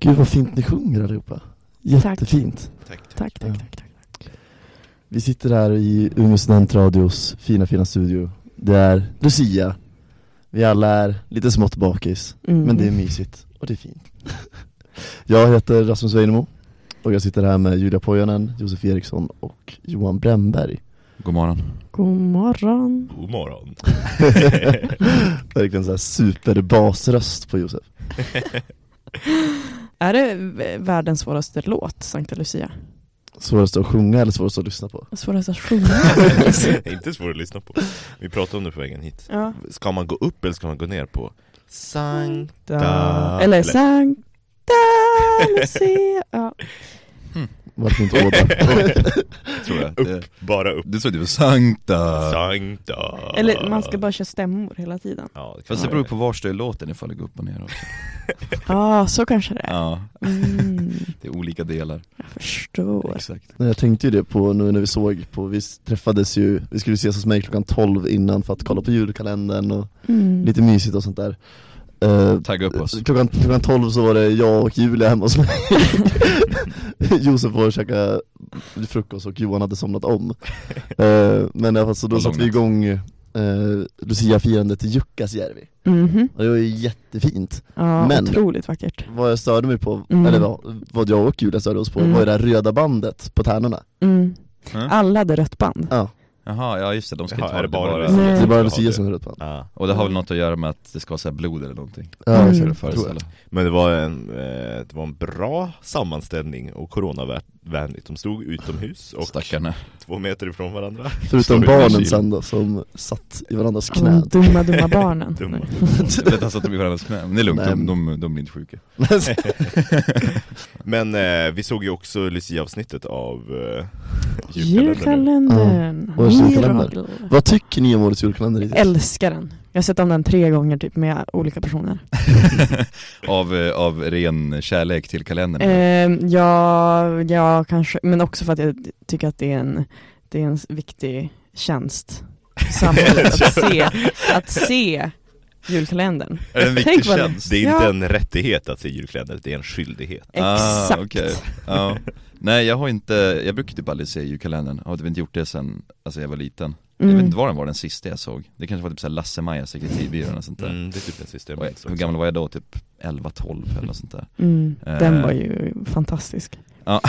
Gud vad fint ni sjunger allihopa. Jättefint. Tack. Tack, tack, Ja. tack, tack. Vi sitter här i Umeå Studentradios fina, fina studio. Det är Lucia. Vi alla är lite smått bakis, Mm. men det är mysigt och det är fint. Jag heter Rasmus Weinemo och jag sitter här med Julia Pojanen, Josef Eriksson och Johan Bremberg. God morgon. God morgon. God morgon. Verkligen så här superbasröst på Josef. Är det v- världens svåraste låt, Sankta Lucia? Svårast att sjunga eller svårast att lyssna på? Svårast att sjunga? Inte svår att lyssna på. Vi pratade om det på vägen hit. ja. Ska man gå upp eller ska man gå ner på Sankt? Da. Da. Eller Eller- Sankta Lucia. Ja. Varför inte båda? Tror jag. Det, Upp, bara upp. det tror jag det var Sankta. Sankta. Ah. Eller man ska bara köra stämmor hela tiden. Ja, det kan Fast det man beror göra. på vars det är låten ifall det går upp och ner också. Ja, så kanske det är. Ja, Mm, det är olika delar. jag förstår. Exakt. Nej, jag tänkte ju det på nu när vi såg på, vi träffades ju, vi skulle ses hos mig klockan 12 innan för att kolla på julkalendern och Mm. lite mysigt och sånt där Eh, Tagga upp oss. klockan, klockan 12 så var det jag och Julia hemma hos mig Josef var och käkade frukost och Johan hade somnat om Eh, Men i alla fall så då Och satte vi igång eh, Lucia-firandet i Jukkasjärvi Mhm. Och det var ju jättefint Ja, Men- otroligt vackert. Vad jag störde mig på, Mm. eller vad, vad jag och Julia störde oss på, Mm. var ju det här röda bandet på tärnorna Mm. Mm. Alla hade rött band. Ja, Jaha, ja just det, de ska Jaha, inte ha är det det bara bara. Lucia? det Nej. är bara Jaha, Lucia det- som har rött band Ja. Och det har väl något att göra med att det ska vara så här blod eller någonting. Ja, Mm. så är det. Föreställa. Men det var en, eh, det var en bra sammanställning och coronavänligt. De stod utomhus och Stackarna. två meter ifrån varandra. Förutom Sorry, barnen Lucia. sen då, som satt i varandras Alla de knän dumma, dumma barnen. Dumma. Jag vet alltså att de är varandras knä, men det är lugnt, Nej, de, men- de, de blir inte sjuka. Alltså, Men eh, vi såg ju också Lucia-avsnittet av eh, julkalendern. nu. Julkalendern. Ja, och julkalender. Mirakel. Vad tycker ni om årets julkalender? hittills? Älskar den. Jag har sett om den tre gånger typ med olika personer. av, eh, av ren kärlek till kalendern. Eh, ja, ja, kanske. Men också för att jag tycker att det är en, det är en viktig tjänst. i Samhället att se, att se julkalendern. är det en viktig tänk vad det- tjänst? Det är inte Ja. en rättighet att se julkläder, det är en skyldighet. Exakt. Ah, okej. ja. Nej jag har inte, jag brukar typ aldrig se julkalendern, jag har typ inte gjort det sen alltså, jag var liten Jag vet Mm. inte var den var den sista jag såg, det kanske var typ såhär Lasse-Majas sekreterarbyrån eller sånt där Mm, det är typ en system. Och jag, Hur gammal var jag då? Typ 11-12 eller något sånt där Mm. Den Eh. var ju fantastisk. jag,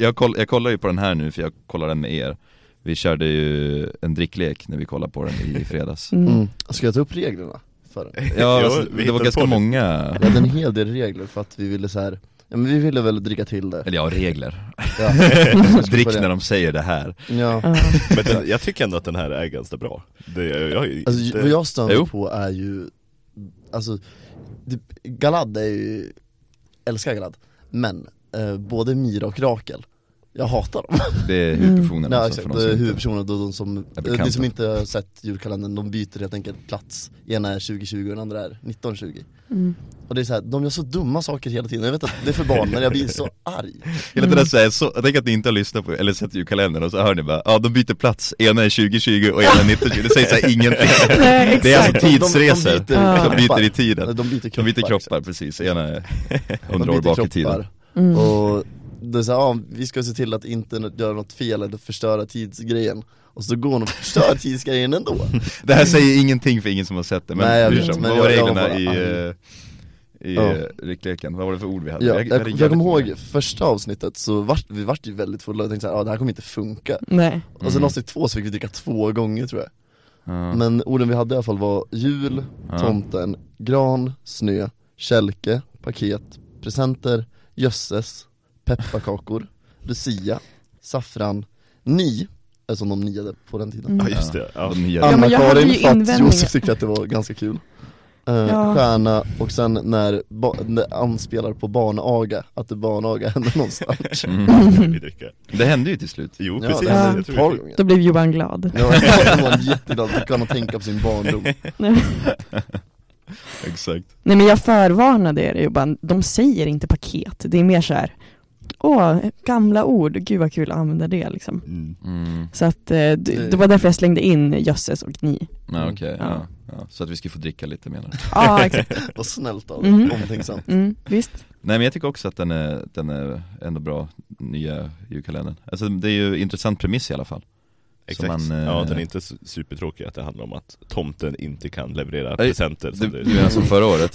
jag, koll, jag kollar ju på den här nu för jag kollar den med er Vi körde ju en dricklek när vi kollade på den i fredags Mm. Mm. Ska jag ta upp reglerna för den? Ja, Jo, alltså, vi det hittade var ganska på det. många Vi hade en hel del regler för att vi ville så här. Ja, men vi ville väl dricka till det eller ja, regler. ja. Drick när de säger det här. ja. Ja. Men den, jag tycker ändå att den här är ganska bra. Det, jag, jag, är Alltså inte- vad jag stör mig Jo. på är ju Alltså det, Galad är ju Älskar Galad Men eh, både Mira och Rakel Jag hatar dem Det är Mm. huvudpersonen Nej, alltså, exakt, för de som inte- huvudpersonerna, då de som, är eh, de bekanta. som inte har sett julkalendern, de byter helt enkelt plats Ena är 2020 och den andra är 1920 Mm. Och det är så här, de gör så dumma saker hela tiden, jag vet att det är för barn men jag blir så arg Hela Mm. tiden såhär, så, jag tänker att ni inte har lyssnat på, eller sett julkalendern och så hör ni bara, ja de byter plats, ena är 2020 och ena är 1920, det säger såhär ingenting Nej, exakt. Det är alltså De- de- de tidsresor, de, byter kroppar. byter i Nej, tiden, De byter de kroppar byter exakt. kroppar precis, ena är 100 liksom. De byter år bak i tiden kroppar. mm. Och det är så här, ja, vi ska se till att inte göra något fel eller förstöra tidsgrejen Och så går hon och förstör tidsgrejen ändå Det här säger ingenting för ingen som har sett det, men Nej, jag bryr vet, sig om. men vad var jag- jag var reglerna bara i, arg. eh, i Ja. ja. rickleken? Vad var det för ord vi hade? Ja, jag, hade jag, jävligt kommer många. ihåg första avsnittet så vart, vi vart ju väldigt fulla och tänkte såhär, ja det här kommer inte funka Nej. Och sen avsnitt Mm. Alltså, två så fick vi dricka två gånger tror jag Ja. Men orden vi hade i alla fall var jul, Ja. tomten, gran, snö, kälke, paket, presenter, jösses, pepparkakor, lucia, saffran, ni, är som de niade på den tiden Mm. Ja just det, ja. De nya- Ja, men jag hade Anna-Karin ju för att invändningar. Josef tyckte att det var ganska kul Eh, Ja. Stjärna och sen när, ba- när anspelar på barnaga, att det barnaga hände någonstans Mm. vi dricker. Det hände ju till slut Jo Ja, precis, det hände jag ett tror par vi- gånger Då blev Johan glad. Ja, jag var jätteglad, fick honom tänka på sin barndom Exakt Nej men jag förvarnade er ju bara, de säger inte paket, det är mer så här åh, gamla ord, gud vad kul att använda det liksom. Mm. Mm. Så att eh, det, det var därför jag slängde in jösses och ni. Ja, okej, Ja. Mm. ja. Ja. Så att vi ska få dricka lite menar du? Ja, exakt. Vad snällt av Mm. dig, omtänksamt Mm, visst. Nej men jag tycker också att den är, den är ändå bra, nya julkalendern Alltså det är ju intressant premiss i alla fall Exakt. man, eh, Ja, den är inte su- supertråkig att det handlar om att tomten inte kan leverera Nej, presenter. Du, som det- du menar som förra året?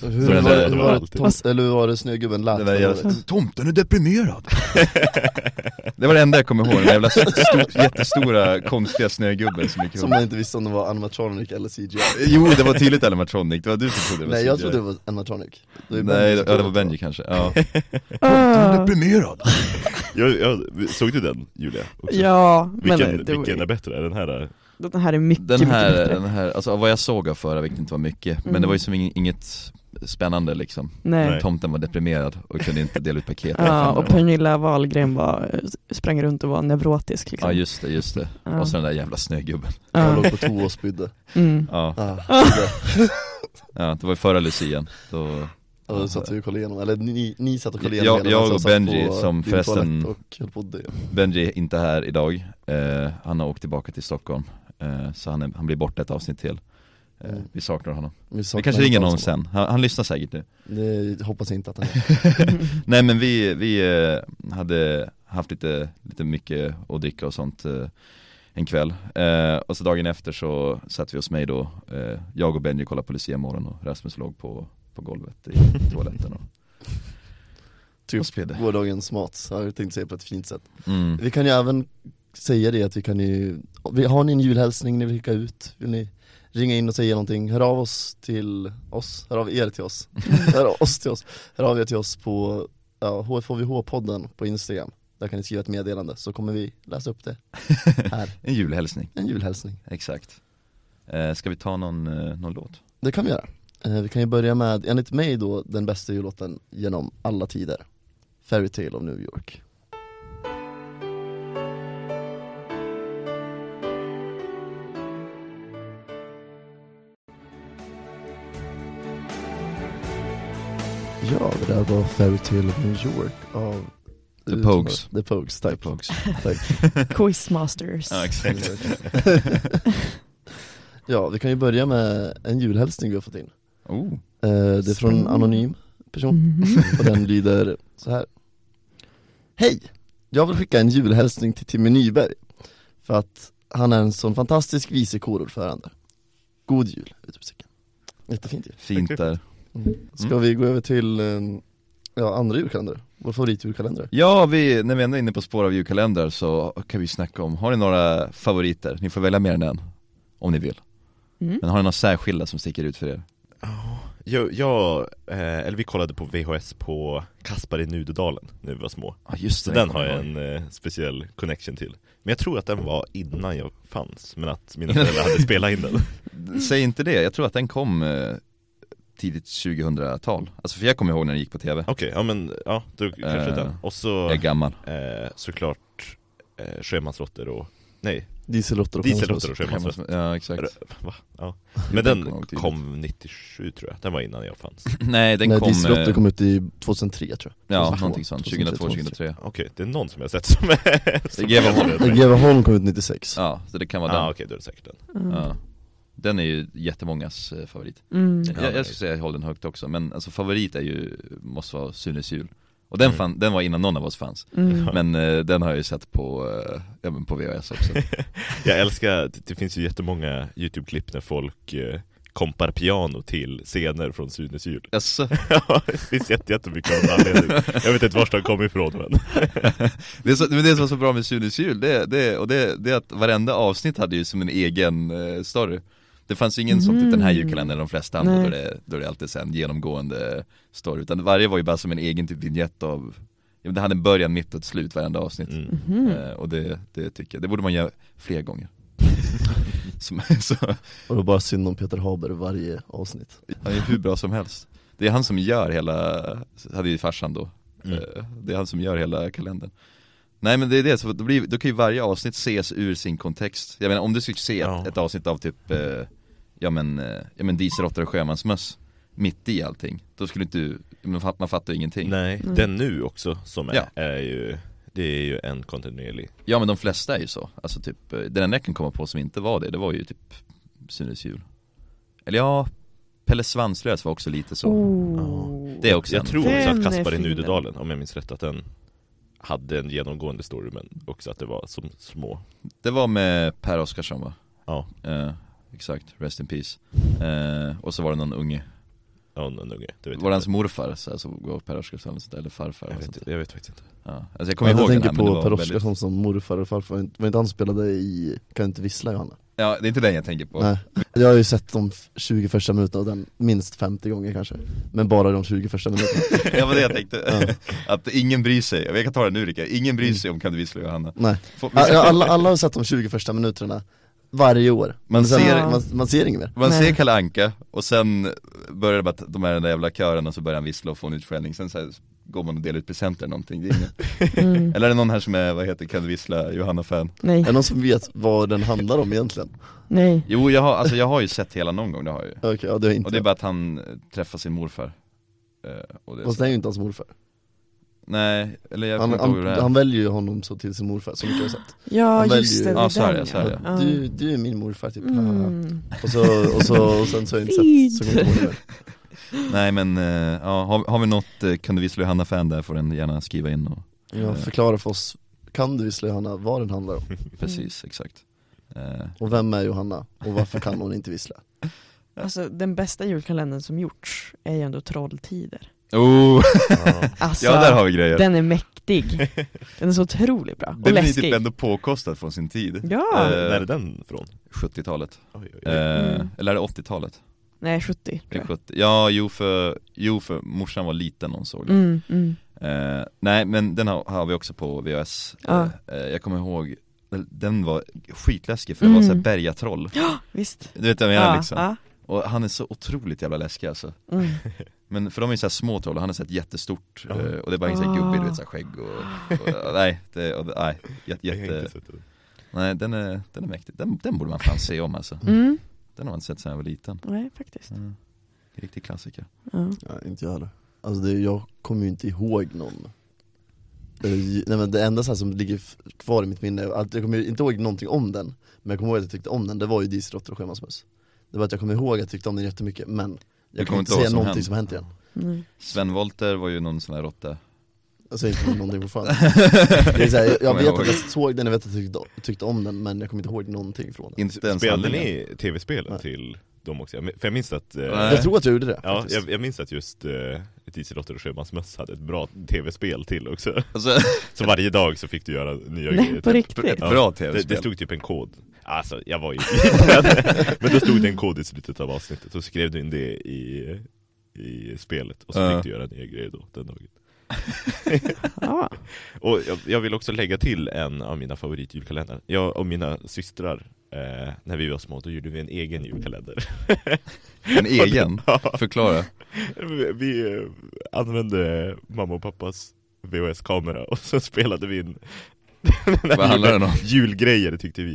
Så hur, Så den var, där- det, hur, var det, alltid- tom, eller hur var det snögubben lät? Det där jävla, året. tomten är deprimerad! Det var det enda jag kommer ihåg, den där jävla stor, jättestora konstiga snögubben som gick Som runt man inte visste om det var animatronic eller CGI Jo det var tydligt animatronic, det var du som trodde det var Nej jag CGI. trodde det var animatronic Det var ju Nej, Benji som det, ja, det trodde var Benji kanske, ja. Åh, deprimerad! jag, jag, såg du den Julia? Också? ja, men Vilken, det var- vilken är bättre? Är Den här? eh, den här är mycket, Den här, mycket bättre. den här, alltså av vad jag såg av förra vilket inte var mycket, men Mm. det var ju som ing- inget spännande liksom Nej. Nej. Tomten var deprimerad och kunde inte dela ut paket Ja, och Pernilla Wahlgren var, eh, sprang runt och var neurotisk liksom. ja just det, just det. Ja. Och så den där jävla snögubben Jag Ja. låg på toa och spydde Mm. Ja, ah, ja det var ju förra lucian då, Och då satt vi och kollade igenom, eller ni, ni satt och kollade Jag- igenom hela, jag sen och satt Benji på som din förresten- toalett och höll på att dö Benji är inte här idag, eh, han har åkt tillbaka till Stockholm eh, Så han, är, han blir borta ett avsnitt till eh, Mm. Vi saknar honom, Vi vi saknar kanske ringer inte någon honom. sen, han, han lyssnar säkert nu Det hoppas jag inte att han gör Nej men vi, vi eh, hade haft lite, lite mycket att dricka och sånt eh, en kväll eh, Och så dagen efter så satt vi hos mig då, eh, jag och Benji kollade på Lucia morgon och Rasmus låg på, på golvet i toaletten och, Typ. och spydde gårdagens mat, har jag tänkt säga på ett fint sätt mm. Vi kan ju även säga det att vi kan ju, vi- har ni en julhälsning ni vill skicka ut? Vill ni ringa in och säga någonting? Hör av oss till oss, hör av er till oss Hör av oss till oss, hör av er till oss på ja, HFHVH-podden på Instagram Där kan ni skriva ett meddelande så kommer vi läsa upp det här, En julhälsning, en julhälsning exakt eh, Ska vi ta någon, eh, någon låt? Det kan vi göra Eh, Vi kan ju börja med, enligt mig då, den bästa jullåten genom alla tider Fairy Tale of New York Ja, det där var Fairy Tale of New York av The Pogues. The Pogues, tack Pogues. Tack. Quizmasters. Ja exakt Ja, vi kan ju börja med en julhälsning vi har fått in oh. Eh, Det är från en Spännande. anonym person Mhm. Och den lyder så här. Hej! Jag vill skicka en julhälsning till Timmy Nyberg För att han är en sån fantastisk vice korordförande God jul! Utropstecken. Jättefint ju Fint där Ska vi gå över till eh, ja, andra julkalender? Vår favoritjulkalender Ja, vi, när vi ändå är inne på spår av julkalendrar så kan vi snacka om, har ni några favoriter? Ni får välja mer än en, om ni vill. Mm. Men har ni några särskilda som sticker ut för er? Jag, jag, eh, eller vi kollade på VHS på Kaspar i Nudedalen när vi var små Ja just Så den har jag en eh, speciell connection till Men jag tror att Mm. den var innan jag fanns, men att mina föräldrar hade spelat in den Säg inte det, jag tror att den kom eh, tidigt 2000-tal. Alltså för jag kommer ihåg när den gick på tv. Okej, ja men ja, då kanske Eh, den Och så Jag är gammal. eh, såklart eh, sjömansråttor och, nej, Dieselråttor och dieselråttor och Hemma hos- sjömansråttor Ja exakt. Va? Ja. Men Den kom den nog tidigt. kom 97 tror jag, den var innan jag fanns Nej den Nej, kom, dieselråttor eh, kom ut i 2003 tror jag ja 2002, någonting sånt, 2002, 2003. Okej, det är någon som jag har sett som är... som Geva är Holm. äldre än mig. GW Holm kom ut 96 Ja, så det kan vara Ja, ah, den. okej, då är det säkert den Mm. Ja. Den är ju jättemångas eh, favorit. Mm. Jag, Ja, jag nice. skulle säga jag håller den högt också, men alltså favorit är ju, måste vara Sunes jul Och den, Mm. fan, den var innan någon av oss fanns, Mm. men eh, den har jag ju sett på, eh, ja, men på VHS också Jag älskar, det, det finns ju jättemånga YouTube-klipp när folk eh, kompar piano till scener från Sunes jul Jaså? Ja, det finns jätte, jättemycket av den anledningen Jag vet inte vart de kom ifrån men det, är så, men det som var så bra med Sunes jul, det, det, och det, det är att varenda avsnitt hade ju som en egen eh, story Det fanns ju ingen som typ den här Mm. julkalendern, de flesta andra, Nej. då det, då det alltid är så här en genomgående story Utan varje var ju bara som en egen typ vignett av, ja, men det hade en början, mitt och ett slut varenda avsnitt mm. Mhm. Eh, Och det, det tycker jag, det borde man göra fler gånger som, så, Och det var bara synd om Peter Haber varje avsnitt Han är hur bra som helst Det är han som gör hela, hade ju farsan då Mm. Eh, Det är han som gör hela kalendern Nej men det är det, så då, blir, då kan ju varje avsnitt ses ur sin kontext Jag menar om du skulle se Ja. ett, ett avsnitt av typ eh, Ja men, eh, ja men dieselråttor och sjömansmöss mitt i allting, då skulle inte du, man fat- man fattar ju ingenting Nej, Nej. den nu också som är, Ja. är ju Det är ju en kontinuerlig Ja men de flesta är ju så, alltså typ, eh, den enda jag kan komma på som inte var det, det var ju typ Sunes jul Eller ja, Pelle Svanslös var också lite så Oh. Det är också Jag en. tror Den också att är Kaspar i fin. Nudedalen, om jag minns rätt, att den hade en genomgående story men också att det var som små Det var med Per Oscarsson va? Ja. Eh, Exakt, Rest in Peace eh, Och så var det någon unge, Ja, en unge, det vet var det jag hans morfar så här, som går Per Oscarsson och sånt där, eller farfar? jag och sånt. vet, jag vet faktiskt inte Ja. Alltså jag kommer Jag ihåg den tänker här, men det på var Per väldigt- Oscarsson som morfar och farfar, var inte han spelade i Kan du inte vissla Johanna? Ja, det är inte den jag tänker på Nej. Jag har ju sett de 20 första minuterna av den minst 50 gånger kanske, men bara de 20 första minuterna Ja, men det jag tänkte. Att ingen bryr sig, jag kan ta det nu Rickard, ingen bryr sig om Kan du vissla Johanna Nej. Får- Ja, ja, Alla, alla har sett de 20 första minuterna varje år, Man Men sen, ser- man, man ser inget mer Man Nej. ser Kalle Anka och sen börjar det bara att de är den där jävla kören och så börjar han vissla och få en utskällning, sen så här går man och delar ut presenter eller någonting det är ingen... Mm. Eller är det någon här som är, vad heter Kan du vissla Johanna-fan? Är Nej, det någon som vet vad den handlar om egentligen? nej. Jo jag har, alltså jag har ju sett hela någon gång, det har jag ju Okej, ja det är inte Och det är bara att han eh, träffar sin morfar Eh, och det är Fast så. det är ju inte hans morfar, Nej, eller jag han, kommer inte ihåg han, hur det är han väljer ju honom så till sin morfar, så mycket jag har sett Ja Han väljer ju- just det, det Ja, är så är det, den, så är det. Ja. du, du är min morfar typ, Mm. och, så, och, så, och sen så har jag inte sett, så kommer jag inte ihåg det mer. Nej men, eh, ja, har, har vi något eh, Kan du vissla Johanna-fan där får den gärna skriva in och Jag förklarar för oss, kan du vissla Johanna vad den handlar om? Precis, exakt Eh, Och vem är Johanna? Och varför kan hon inte vissla? Alltså den bästa julkalendern som gjorts är ju ändå Trolltider. Oh, Ja. Alltså, ja där har vi grejer den är mäktig. Den är så otroligt bra. Och Den är läskig. typ ändå påkostad från sin tid Ja, Eh, När är den från? 70-talet, Oj, oj, oj. eh, Mm. eller är det 80-talet? nej 70 Det är tror 70. Ja, jo för, jo för morsan var liten när hon såg jag. det Mm, mm. eh, Nej men den har, har vi också på VHS Ja. eh, eh, Jag kommer ihåg, den var skitläskig för det var Mm. såhär bergatroll Visst. Du vet vad jag menar Ja, liksom ja. Och han är så otroligt jävla läskig alltså Mm. Men för de är ju såhär små troll och han är såhär jättestort Ja. eh, och det är bara en sån här gubbe, Ah. du vet såhär skägg och, och, och nej, det, och, nej, jätte, Jag har jätte, inte sett den. nej den är, den är mäktig, den, den borde man fan se om alltså Mm. Den har man inte sett sedan jag var liten Nej faktiskt. Ja, Riktig klassiker Ja. Ja, inte jag heller Alltså det, jag kommer ju inte ihåg någon Eh, Nej men det enda så här som ligger f- kvar i mitt minne, är att jag kommer ju inte ihåg någonting om den Men jag kommer ihåg att jag tyckte om den, det var ju Dieselråttor och Sjömansmöss Det var att jag kommer ihåg att jag tyckte om den jättemycket, men jag kommer kommer inte inte ihåg säga vad någonting som hänt. som hänt igen Mm. Sven Volter var ju någon sån här råtta Jag säger Alltså, inte någonting fortfarande det är så här, jag, jag Kommer vet att ihåg. jag såg den, jag vet att jag tyckte, tyckte om den, men jag kommer inte ihåg någonting från den Inte ens Spelade handlingen. ni tv-spelen Nej. till dem också? Jag min- För jag minns att eh, Nej. Jag tror att jag gjorde det Ja, faktiskt. jag, jag minns att just eh, Dieselråttor och Sjömansmöss hade ett bra tv-spel till också Alltså, Så varje dag så fick du göra nya grejer Nej på till. ett riktigt. Ja. bra det, det tv-spel stod typ en kod, alltså jag var ju liten, men då stod det en kod i slutet av avsnittet, så skrev du in det i, i spelet, och så Ja. fick du göra nya grejer då, den dagen Ja. Och jag, jag vill också lägga till en av mina favoritjulkalendrar, jag och mina systrar Eh, när vi var små, då gjorde vi en egen julkalender En egen, Ja. förklara Vi- Vi eh, använde mamma och pappas VHS-kamera och så spelade vi in Vad handlar den om? julgrejer tyckte vi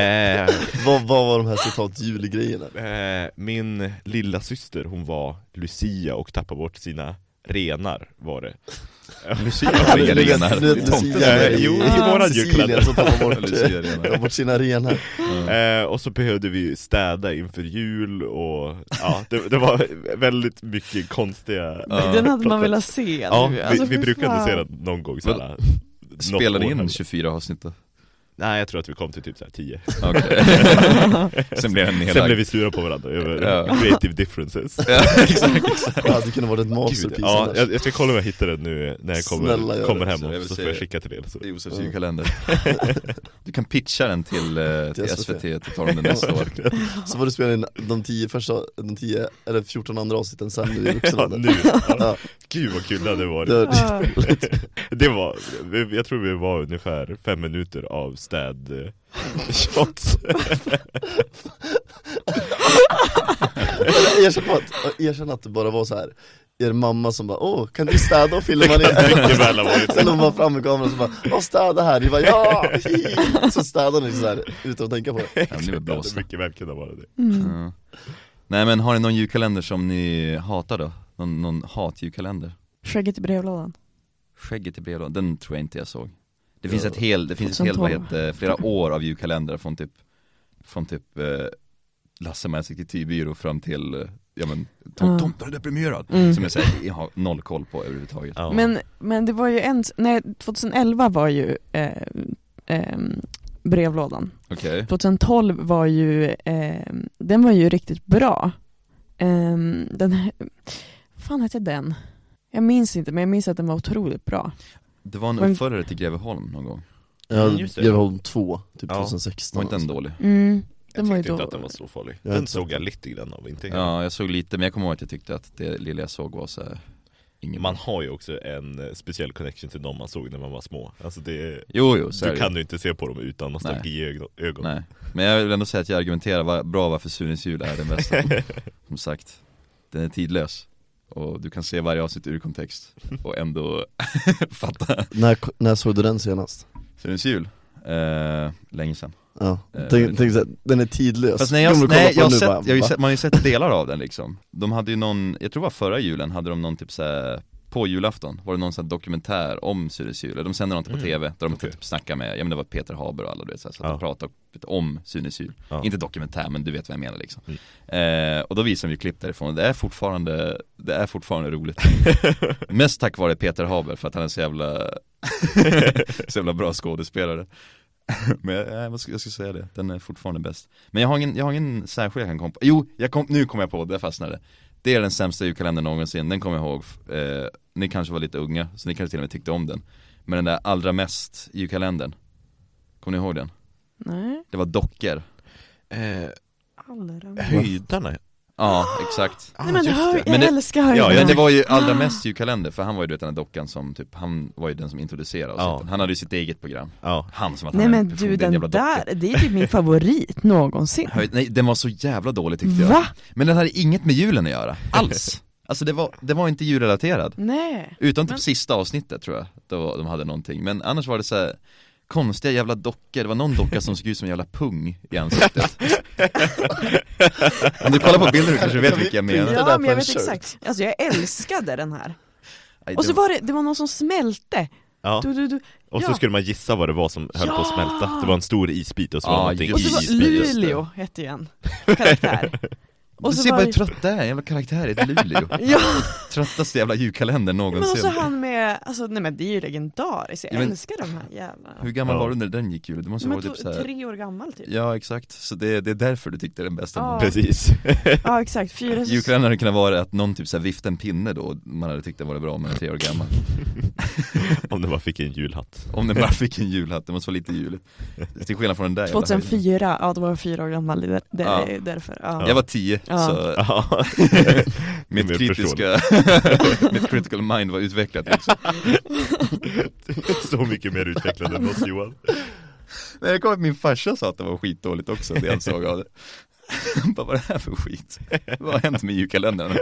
eh, Vad, vad var de här citat julgrejerna? Eh, min lilla syster hon var Lucia och tappade bort sina renar var det Lucia har inga Du vet- renar, du vet, Tomten. Lucia är Nej, jo, i- i våran Sicilien julkalender. som tar bort, Lucia tar renar. bort sina renar Mm. eh, Och så behövde vi städa inför jul och ja, det, det var väldigt mycket konstiga Ja. Den hade man velat se. Ja, nu. vi, Alltså, vi fy brukade fan. se den någon gång såhär Spelade in 24 avsnitt då? Nej jag tror att vi kom till typ såhär 10 Okej Sen blev den nedlagd Sen blev vi sura på varandra över Ja. creative differences Ja, exakt, exakt Alltså, det kunde varit ett masterpiece ja, annars. jag, jag ska kolla om jag hittar den nu när jag Snälla, gör kommer, kommer det. hem Så jag vill och så se får jag det. skicka till er så. Josefs julkalender Du kan pitcha den till, eh, till SVT, så tar de den nästa år Så får du spela in de 10 första, de 10, eller 14 andra avsnitten sen nu i vuxen Ja, ålder nu. Ja. Ja. Gud vad kul det hade varit Det var riktigt Ja. Det var, vi- jag tror vi var ungefär fem minuter av städ eh, shots Eller Erkänn att, erkänn att det bara var så här. er mamma som bara åh, kan du städa och filma det? mycket väl har varit Sen hon bara fram med kameran och så bara åh städa här, ni bara ja! hi." Så städar ni så här utan att tänka på det Den blev Det hade blåst mycket väl kunnat vara det Mm. Ja. Nej men har ni någon julkalender som ni hatar då? Någon, någon hatjulkalender? Skägget i brevlådan. Skägget i brevlådan, den tror jag inte jag såg Det Ja. finns ett hel, det finns ett hel, vad 2012. heter, det, flera år av julkalendrar från typ Från typ eh, Lasse med detektivbyrå fram till eh, Ja men, tom, Ja. tomten är deprimerad Mm. Som jag säger, jag har noll koll på överhuvudtaget Ja. Men, men det var ju en, nej 2011 var ju eh, eh, brevlådan. Okej, 2012 var ju, eh, den var ju riktigt bra. Eh, den, här- vad fan hette den? Jag minns inte men jag minns att den var otroligt bra. det var en Men- uppföljare till Greveholm någon gång, Jag Mm, just det. skrev om två, typ alltså. Ja. var 2016 inte den dålig? Mm, jag den var ju tyckte då... inte att den var så farlig. Jag har Den inte såg sett jag den. lite grann av, inte ja. Ja, jag såg lite, men jag kommer ihåg att jag tyckte att det lilla jag såg var såhär Ingen Man har ju också en eh, speciell connection till dem man såg när man var små. Alltså det, Jo, jo, så är du det. kan ju inte se på dem utan nostalgiögon. Nej, men jag vill ändå säga att jag argumenterar va- bra varför Sunes jul är den bästa Som sagt, den är tidlös och du kan se varje avsnitt ur kontext och ändå fatta när, när såg du den senast? Sunes jul, eh, länge sedan Ja, Eh, tänk, tänk såhär, den är tidlös Fast nej, jag, Kommer du kolla nej, på jag har den nu, sett, jag bara, har ju va? sett, man har ju sett delar av den liksom De hade ju någon, jag tror det var förra julen, hade de någon typ såhär på julafton var det någon sån här dokumentär om Sunes jul, de sänder något på Mm. tv där de Okej. typ snackar med, ja men det var Peter Haber och alla du vet så, här, så att Ja. de pratade lite om Sunes jul Ja. Mm. Inte dokumentär men du vet vad jag menar liksom eh, Och då visar de ju klipp därifrån, det är fortfarande, det är fortfarande roligt Mest tack vare Peter Haber för att han är så jävla, så jävla bra skådespelare Men jag, jag, jag, ska, jag ska säga det, den är fortfarande bäst Men jag har ingen, jag har ingen särskild jag kan komma på, jo, jag kom, nu kommer jag på, där fastnade det. Det är den sämsta julkalendern någonsin, den kommer jag ihåg eh, Ni kanske var lite unga, så ni kanske till och med tyckte om den Men den där allra mest julkalendern Kommer ni ihåg den? Nej, Det var dockor Eh, allra höjdarna? Ja, exakt Ah, Nej men, just hör, det. jag Men det- älskar höjden. Ja, Ja, men det var ju Ah. allra mest julkalender för han var ju du vet den där dockan som typ, han var ju den som introducerade oss Ja. egentligen. Han hade ju sitt eget program, Ja. han som att Nej han är men en person, du det är den en jävla docka. där, det är typ min favorit någonsin. Höj- Nej den var så jävla dålig tyckte jag Va? Men den hade inget med julen att göra, alls Alltså det var, det var inte julrelaterad Nej. Utom typ Men- sista avsnittet tror jag, då de hade någonting Men annars var det så här konstiga jävla dockor, det var någon docka som såg ut som en jävla pung i ansiktet Om du kollar på bilden kanske du vet vilka jag menar det där Ja på men jag en vet shirt. exakt, alltså jag älskade den här. Nej, Och så det var det, det var någon som smälte, ja. du, du, du. Och så Ja. skulle man gissa vad det var som höll på att Ja. smälta. Det var en stor isbit och så var Ja, det någonting Och just i så det. var isbiten. Precis, det. Luleå hette ju en karaktär. Du Och så ser var bara det- hur trött det är, jävla karaktär i ett Luleå Ja, Tröttaste jävla julkalendern men och någonsin så han med, alltså nej men det är ju legendariskt, jag Ja, men- älskar de här jävlarna. Hur gammal Ja. var du när den gick jul? Det måste Men vara då, typ såhär tre år gammal typ. Ja exakt, så det, det är därför du tyckte den bästa Ja. Precis. Ja exakt, fyra säsonger. Julkalendern hade kunnat vara att någon typ såhär viftade en pinne då, och man hade tyckt den var bra om man är tre år gammal Om det bara fick en julhatt. Om den bara fick en julhatt, det måste vara lite juligt Till skillnad från den där jävla höjden. 2004, ja då var jag fyra år gammal, det, det Ja. är därför. Ja. Jag var tio, Ja. så Ja. mitt Men förstår kritiska, mitt critical mind var utvecklat liksom. Så mycket mer utvecklad än oss Johan. Men jag kommer att min farsa sa att det var skitdåligt också, det han såg av det Han bara, vad är det här för skit? Vad har hänt med julkalendern?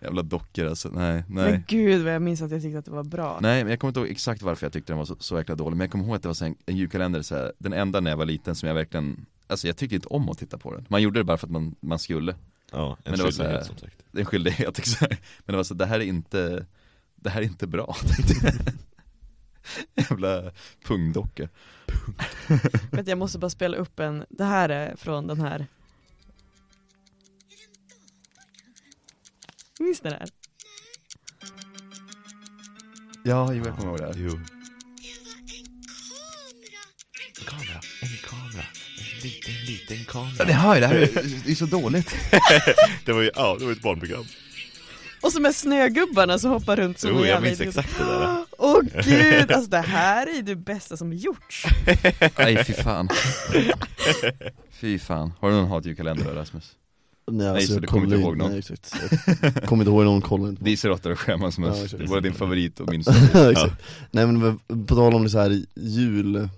Jävla dockor alltså, nej, nej Men gud vad jag minns att jag tyckte att det var bra. Nej men jag kommer inte ihåg exakt varför jag tyckte den var så, så jäkla dålig, men jag kommer ihåg att det var så här en, en julkalender så här, den enda när jag var liten som jag verkligen, alltså jag tyckte inte om att titta på den. Man gjorde det bara för att man, man skulle, Ja, en Men det var så här- skyldighet som sagt. det är en skyldighet exakt. Men det var så, det här är inte, det här är inte bra. Jävla pungdocka. Vänta, jag måste bara spela upp en, det här är från den här. Minns ni det här? Ja, jo jag kommer ihåg det här. Jo. Det var en kamera! En kamera, en kamera, en liten, liten Ja, kamera. ni hör ju, det här är, det är så dåligt. Det var ju, ja, det var ett barnprogram. Och så med snögubbarna som hoppar runt som Jo, en jag jävla minns idiot. exakt det där. Åh gud, alltså det här är ju det bästa som gjorts. Nej fy fan. Fy fan. Har du någon hatjulkalender då, Rasmus? Nej, Nej, så alltså, du jag kommer kollar inte inte ihåg någon? Nej exakt, jag kommer inte ihåg någon, kollar inte på Dieselråttor Ja, och sjömansmöss, exakt. det var din favorit och min Exakt. Nej men på tal om det så här jul,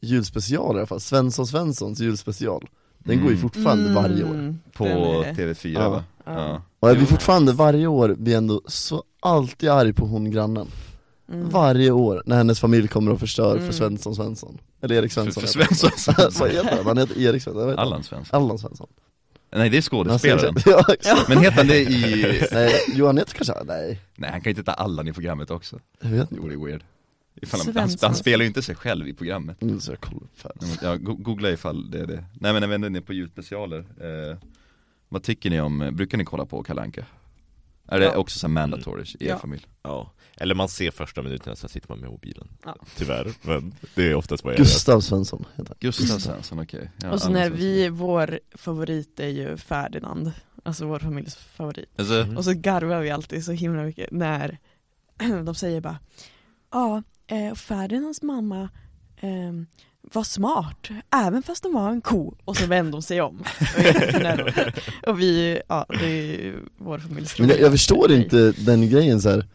julspecial i alla fall, Svensson Svenssons julspecial Den går ju Mm. fortfarande Mm, varje år På den är- TV4 Ja. va? Ja. Ja. Och jag blir fortfarande varje år, blir ändå så alltid arg på hon grannen Mm. varje år när hennes familj kommer och förstör Mm. för Svensson Svensson Eller Erik Svensson För- för heter han. Svensson. Vad heter han? Han heter Erik Svensson, jag vet inte. Allan Svensson? Allan Svensson Nej det är Han ser skådespelaren inte- Ja, exakt. Men heter han det i... Nej, Johan heter kanske, nej, Nej han kan ju inte heta Allan i programmet också jag vet Jo inte det är weird ifall han, han, Svensson. han spelar ju inte sig själv i programmet Nu ska jag kolla upp här Jag go- googlar ifall det är det Nej men när vi ändå är inne på ljudspecialer eh, Vad tycker ni om, brukar ni kolla på Kalle Anka? Är det Ja. också så här mandatory i er Ja. familj? Ja, eller man ser första minuterna, sen sitter man med mobilen Ja. Tyvärr, men det är oftast vad jag gör Gustav Svensson heter Gustav Svensson, okej Ja, Och så Allan när Svensson. vi, vår favorit är ju Ferdinand, alltså vår familjs favorit. alltså, Mm. Och så garvar vi alltid så himla mycket när de säger bara Ja, eh, Ferdinands mamma eh, var smart, även fast hon var en ko. Och så vände hon sig om. och vi, ja det är ju vår familjs Men jag, favorit. jag förstår inte den grejen så här.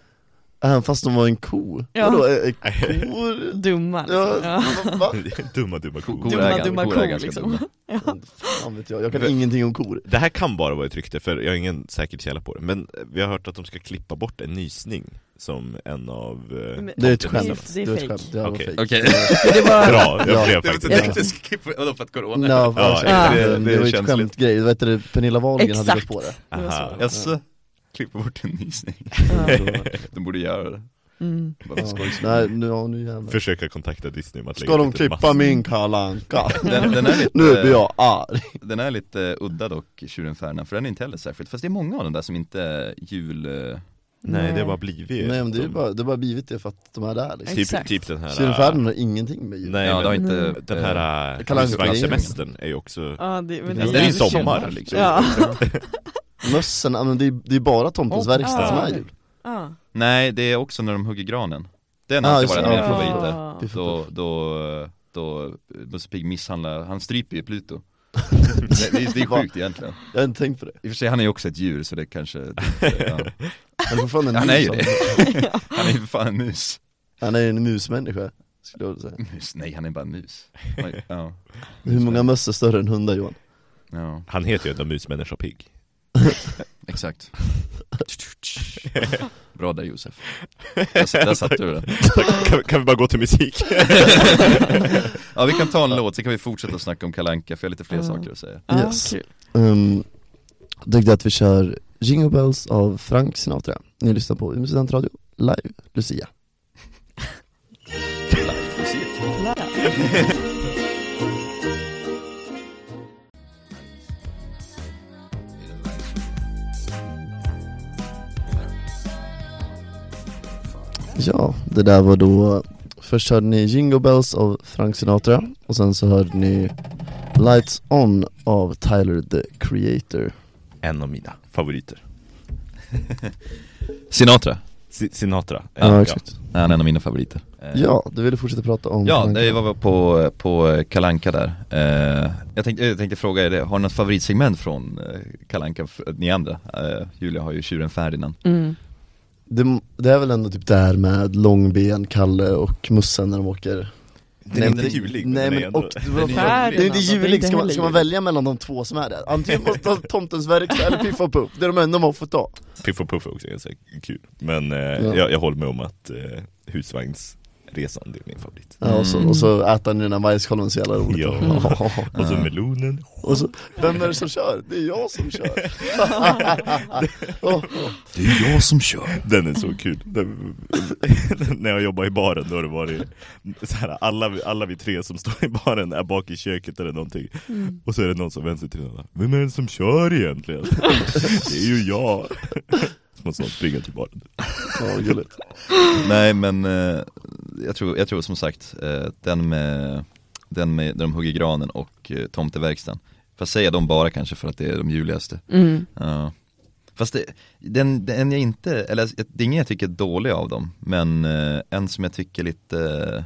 även fast de var en ko, Ja. vadå, är, är kor? Dumma liksom. Ja, ja. va- va? Dumma dumma Ko- ko kor Dumma, är, dumma dumma, kor kor, är ganska liksom. dumma Fan vet jag, jag kan Men- ingenting om kor Det här kan bara vara ett rykte, för jag har ingen säker källa på det Men vi har hört att de ska klippa bort en nysning Som en av... eh, Men- Det är ett kompetens- skämt, Det är det är fake. ett skämt, ja, Okej. okay. Okej, Det var, Bra, jag Ja. blev det faktiskt var Ja. inte skippa, vadå för att corona? Ja, Ja, ja, exakt. det, det, Det- det är var ju ett känsligt. skämtgrej, vad heter det, Pernilla Wahlgren hade Exakt. gått på det Aha. Jaså? Klippa bort en nysning, ja. de borde göra det, mm. bara för Alltså, ja. skojs skull. Nej, nu, ja, nu jävlar Försöka kontakta Disney om att lägga Ska de ut ett klippa min Kalle Anka? den, den är lite, Nu blir jag arg! Den är lite udda dock, Tjuren Färna, för den är inte heller särskilt, fast det är många av de där som inte är jul... eh, Nej, det har bara blivit Nej men det är som- bara, det har bara blivit det för att de är där liksom typ, Exakt. typ den här... Syrfärden har ingenting med jul Nej, ja, det har men inte... Nej. den eh, här Kalle Anka- husvagnssemestern är ju också ja, det, men Det alltså, är ju jävligt sommar, gammalt. liksom. Ja. Mössen, ja, men det är, det är bara tomtens Oh, verkstad som ja. är jul Ja. Nej, det är också när de hugger granen Den Ah, har alltid just varit det. min Ja. favorit Piff och Då, Puff. då, då Musse Pigg misshandlar, han stryper ju Pluto det, det, är- det är sjukt egentligen Jag har inte tänkt på det, I och för sig, han är ju också ett djur så det kanske, det, ja. han är fortfarande en Han är ju mus, det. han är ju för fan en mus Han är en musmänniska, skulle jag vilja säga Mus, nej han är bara en mus Oj, Ja, Hur många möss är större än hundar Johan? ja, Han heter ju ändå Musmänniska Pigg exakt Bra där Josef Där, där satte du den kan, kan vi bara gå till musik? Ja vi kan ta en låt, sen kan vi fortsätta snacka om Kalanka för jag har lite fler Ja. saker att säga Ja, Yes. kul. Um, tänkte att vi kör Jingle Bells av Frank Sinatra Ni lyssnar på Umeå Studentradio, live, Lucia Ja, det där var då Först hörde ni Jingle Bells av Frank Sinatra och sen så hörde ni Lights On av Tyler the Creator En av mina favoriter Sinatra, Si- Sinatra Ja, Eh, exakt är han en av mina favoriter Eh, Ja, du ville fortsätta prata om Ja, Kalle det Anka. var på, på Kalanka där eh, jag, tänkte, jag tänkte fråga er det, har ni något favoritsegment från eh, Kalanka, ni andra? Eh, Julia har ju tjuren Ferdinand Mm. det, det är väl ändå typ där med Långben, Kalle och Mussen när de åker Den Nej, är inte men det- julig, Nej den är men ändå- och, det Den är var julig. fan- det är inte Ferdinand, alltså, det är julig, inte ska man, heller ska man julig. välja mellan de två som är där? Antingen måste man ta Tomtens verkstad eller Piff och Puff, det är de enda man får ta Piff och Puff är också ganska kul Men eh, Ja. jag, jag håller med om att eh, husvagnsresan, det är min favorit ja, och, så, Mm. och så äter ni den där majskolven så jävla roligt Ja. Och så melonen Och så, vem är det som kör? Det är jag som kör! Åh, åh. Det är jag som kör! Den är så kul. Den, när jag jobbar i baren då har det varit så här, alla, vi- alla vi tre som står i baren är bak i köket eller någonting. Och så är det någon som vänder sig till den andra. Vem är det som kör egentligen? det är ju jag! Så måste man springa till baren. Ja, vad gulligt Nej men eh, jag, tror, jag tror som sagt eh, den med den med när de hugger granen och eh, tomteverkstan. Fast säga de bara kanske för att det är de juligaste. Mm. Ja. Fast det, den, den jag inte, eller det är ingen jag tycker är dålig av dem, men eh, en som jag tycker är lite,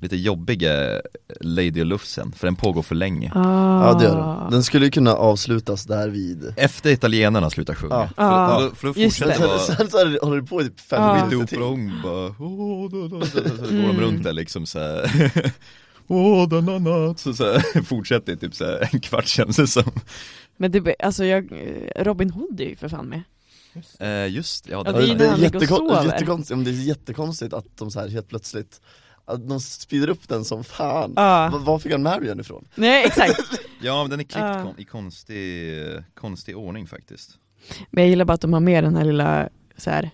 lite jobbig är Lady och Lufsen, för den pågår för länge. Ah. Ja det gör den, den skulle ju kunna avslutas där vid Efter italienarna slutar sjunga. Ja. För, Ja. då, för då Just Sen, fortsätter sen, bara- sen så är det- håller det på i typ fem Ja. minuter Lite till operahon bara "Åh, da, da", så- så- så går de Mm. runt där liksom såhär Åh, da, da, da. Så, så här, fortsätter det typ så här en kvart känns det som Men det, be- alltså jag, eh, Robin Hood är ju för fan med. Eh, just ja, Ja, där det är ju var när han den. ligger och sover. jättekonstigt, ja, men det är jättekonstigt att de så här helt plötsligt att de speedar upp den som fan. Ja. Va- Var fick han Marion ifrån? Ah. Nej exakt. ja men den är klippt Ja. kon- i konstig, konstig ordning faktiskt Men jag gillar bara att de har med den här lilla så här,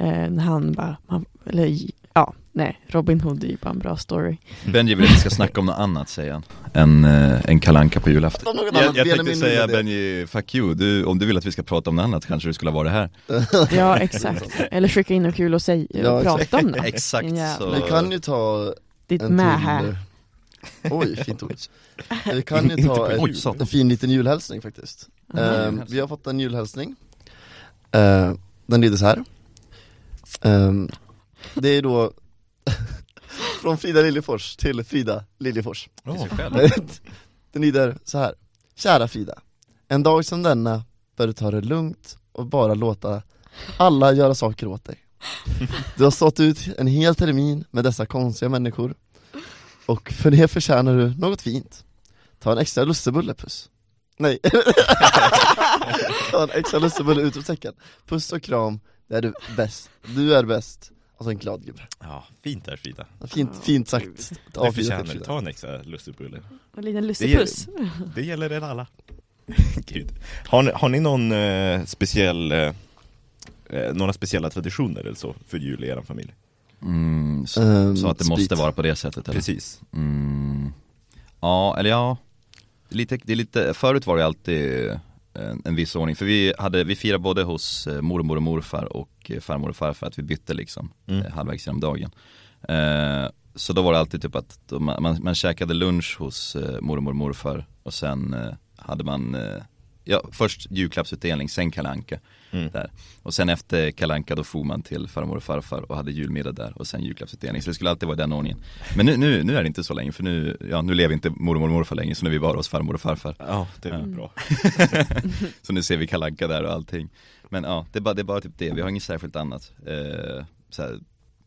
eh, när han bara, man, eller ja, nej, Robin Hood är ju bara en bra story. Benji vill att vi ska snacka om något annat säger han, än eh, en kalanka på julafton Något annat, Jag, jag tänkte Benjamin säga Lundgren. Benji, fuck you, du, om du vill att vi ska prata om något annat kanske du skulle ha varit här Ja exakt. Eller skicka in något kul och säg, Ja, och prata om det. Exakt Ja. så Vi kan ju ta Ditt en med till här. Oj, fint ord Vi kan ju Inte ta på ett, jul. en fin liten julhälsning faktiskt Jaha. Ehm, Vi har fått en julhälsning Eh, Den lyder så här Ehm, Det är då Från Frida Liljefors till Frida Liljefors till sig själv. Den lyder så här Kära Frida En dag som denna bör du ta det lugnt och bara låta alla göra saker åt dig Du har stått ut en hel termin med dessa konstiga människor Och för det förtjänar du något fint Ta en extra lussebulle puss Nej Ta en extra lussebulle utropstecken Puss och kram, det är du bäst Du är bäst Och så en glad gubbe Ja, fint där Frida. Fint, fint sagt Det A4 förtjänar till du. Frida. Ta en extra lustigbulle. En liten lussepuss. Det gäller er alla. Gud. Har, ni, har ni någon eh, speciell, eh, eh, några speciella traditioner eller så för jul i er familj? mm, så, Ehm, så att det måste sprit. vara på det sättet eller? Precis. Mm. Ja, eller ja lite, det är lite, Förut var det alltid eh, en, en viss ordning, för vi, hade, vi firade både hos eh, mormor och morfar och eh, farmor och farfar att vi bytte liksom Mm. eh, halvvägs genom dagen eh, Så då var det alltid typ att då man, man, man käkade lunch hos eh, mormor och morfar och sen eh, hade man eh, Ja, först julklappsutdelning, sen kalanka Mm. där. Och sen efter kalanka då for man till farmor och farfar och hade julmiddag där och sen julklappsutdelning. Så det skulle alltid vara i den ordningen. Men nu, nu, nu är det inte så länge för nu, ja, nu lever inte mormor och morfar längre så nu är vi bara hos farmor och farfar. Ja, det är väl Mm. bra. Så nu ser vi kalanka där och allting. Men ja, det är bara, det är bara typ det. Vi har inget särskilt annat. Eh, så här,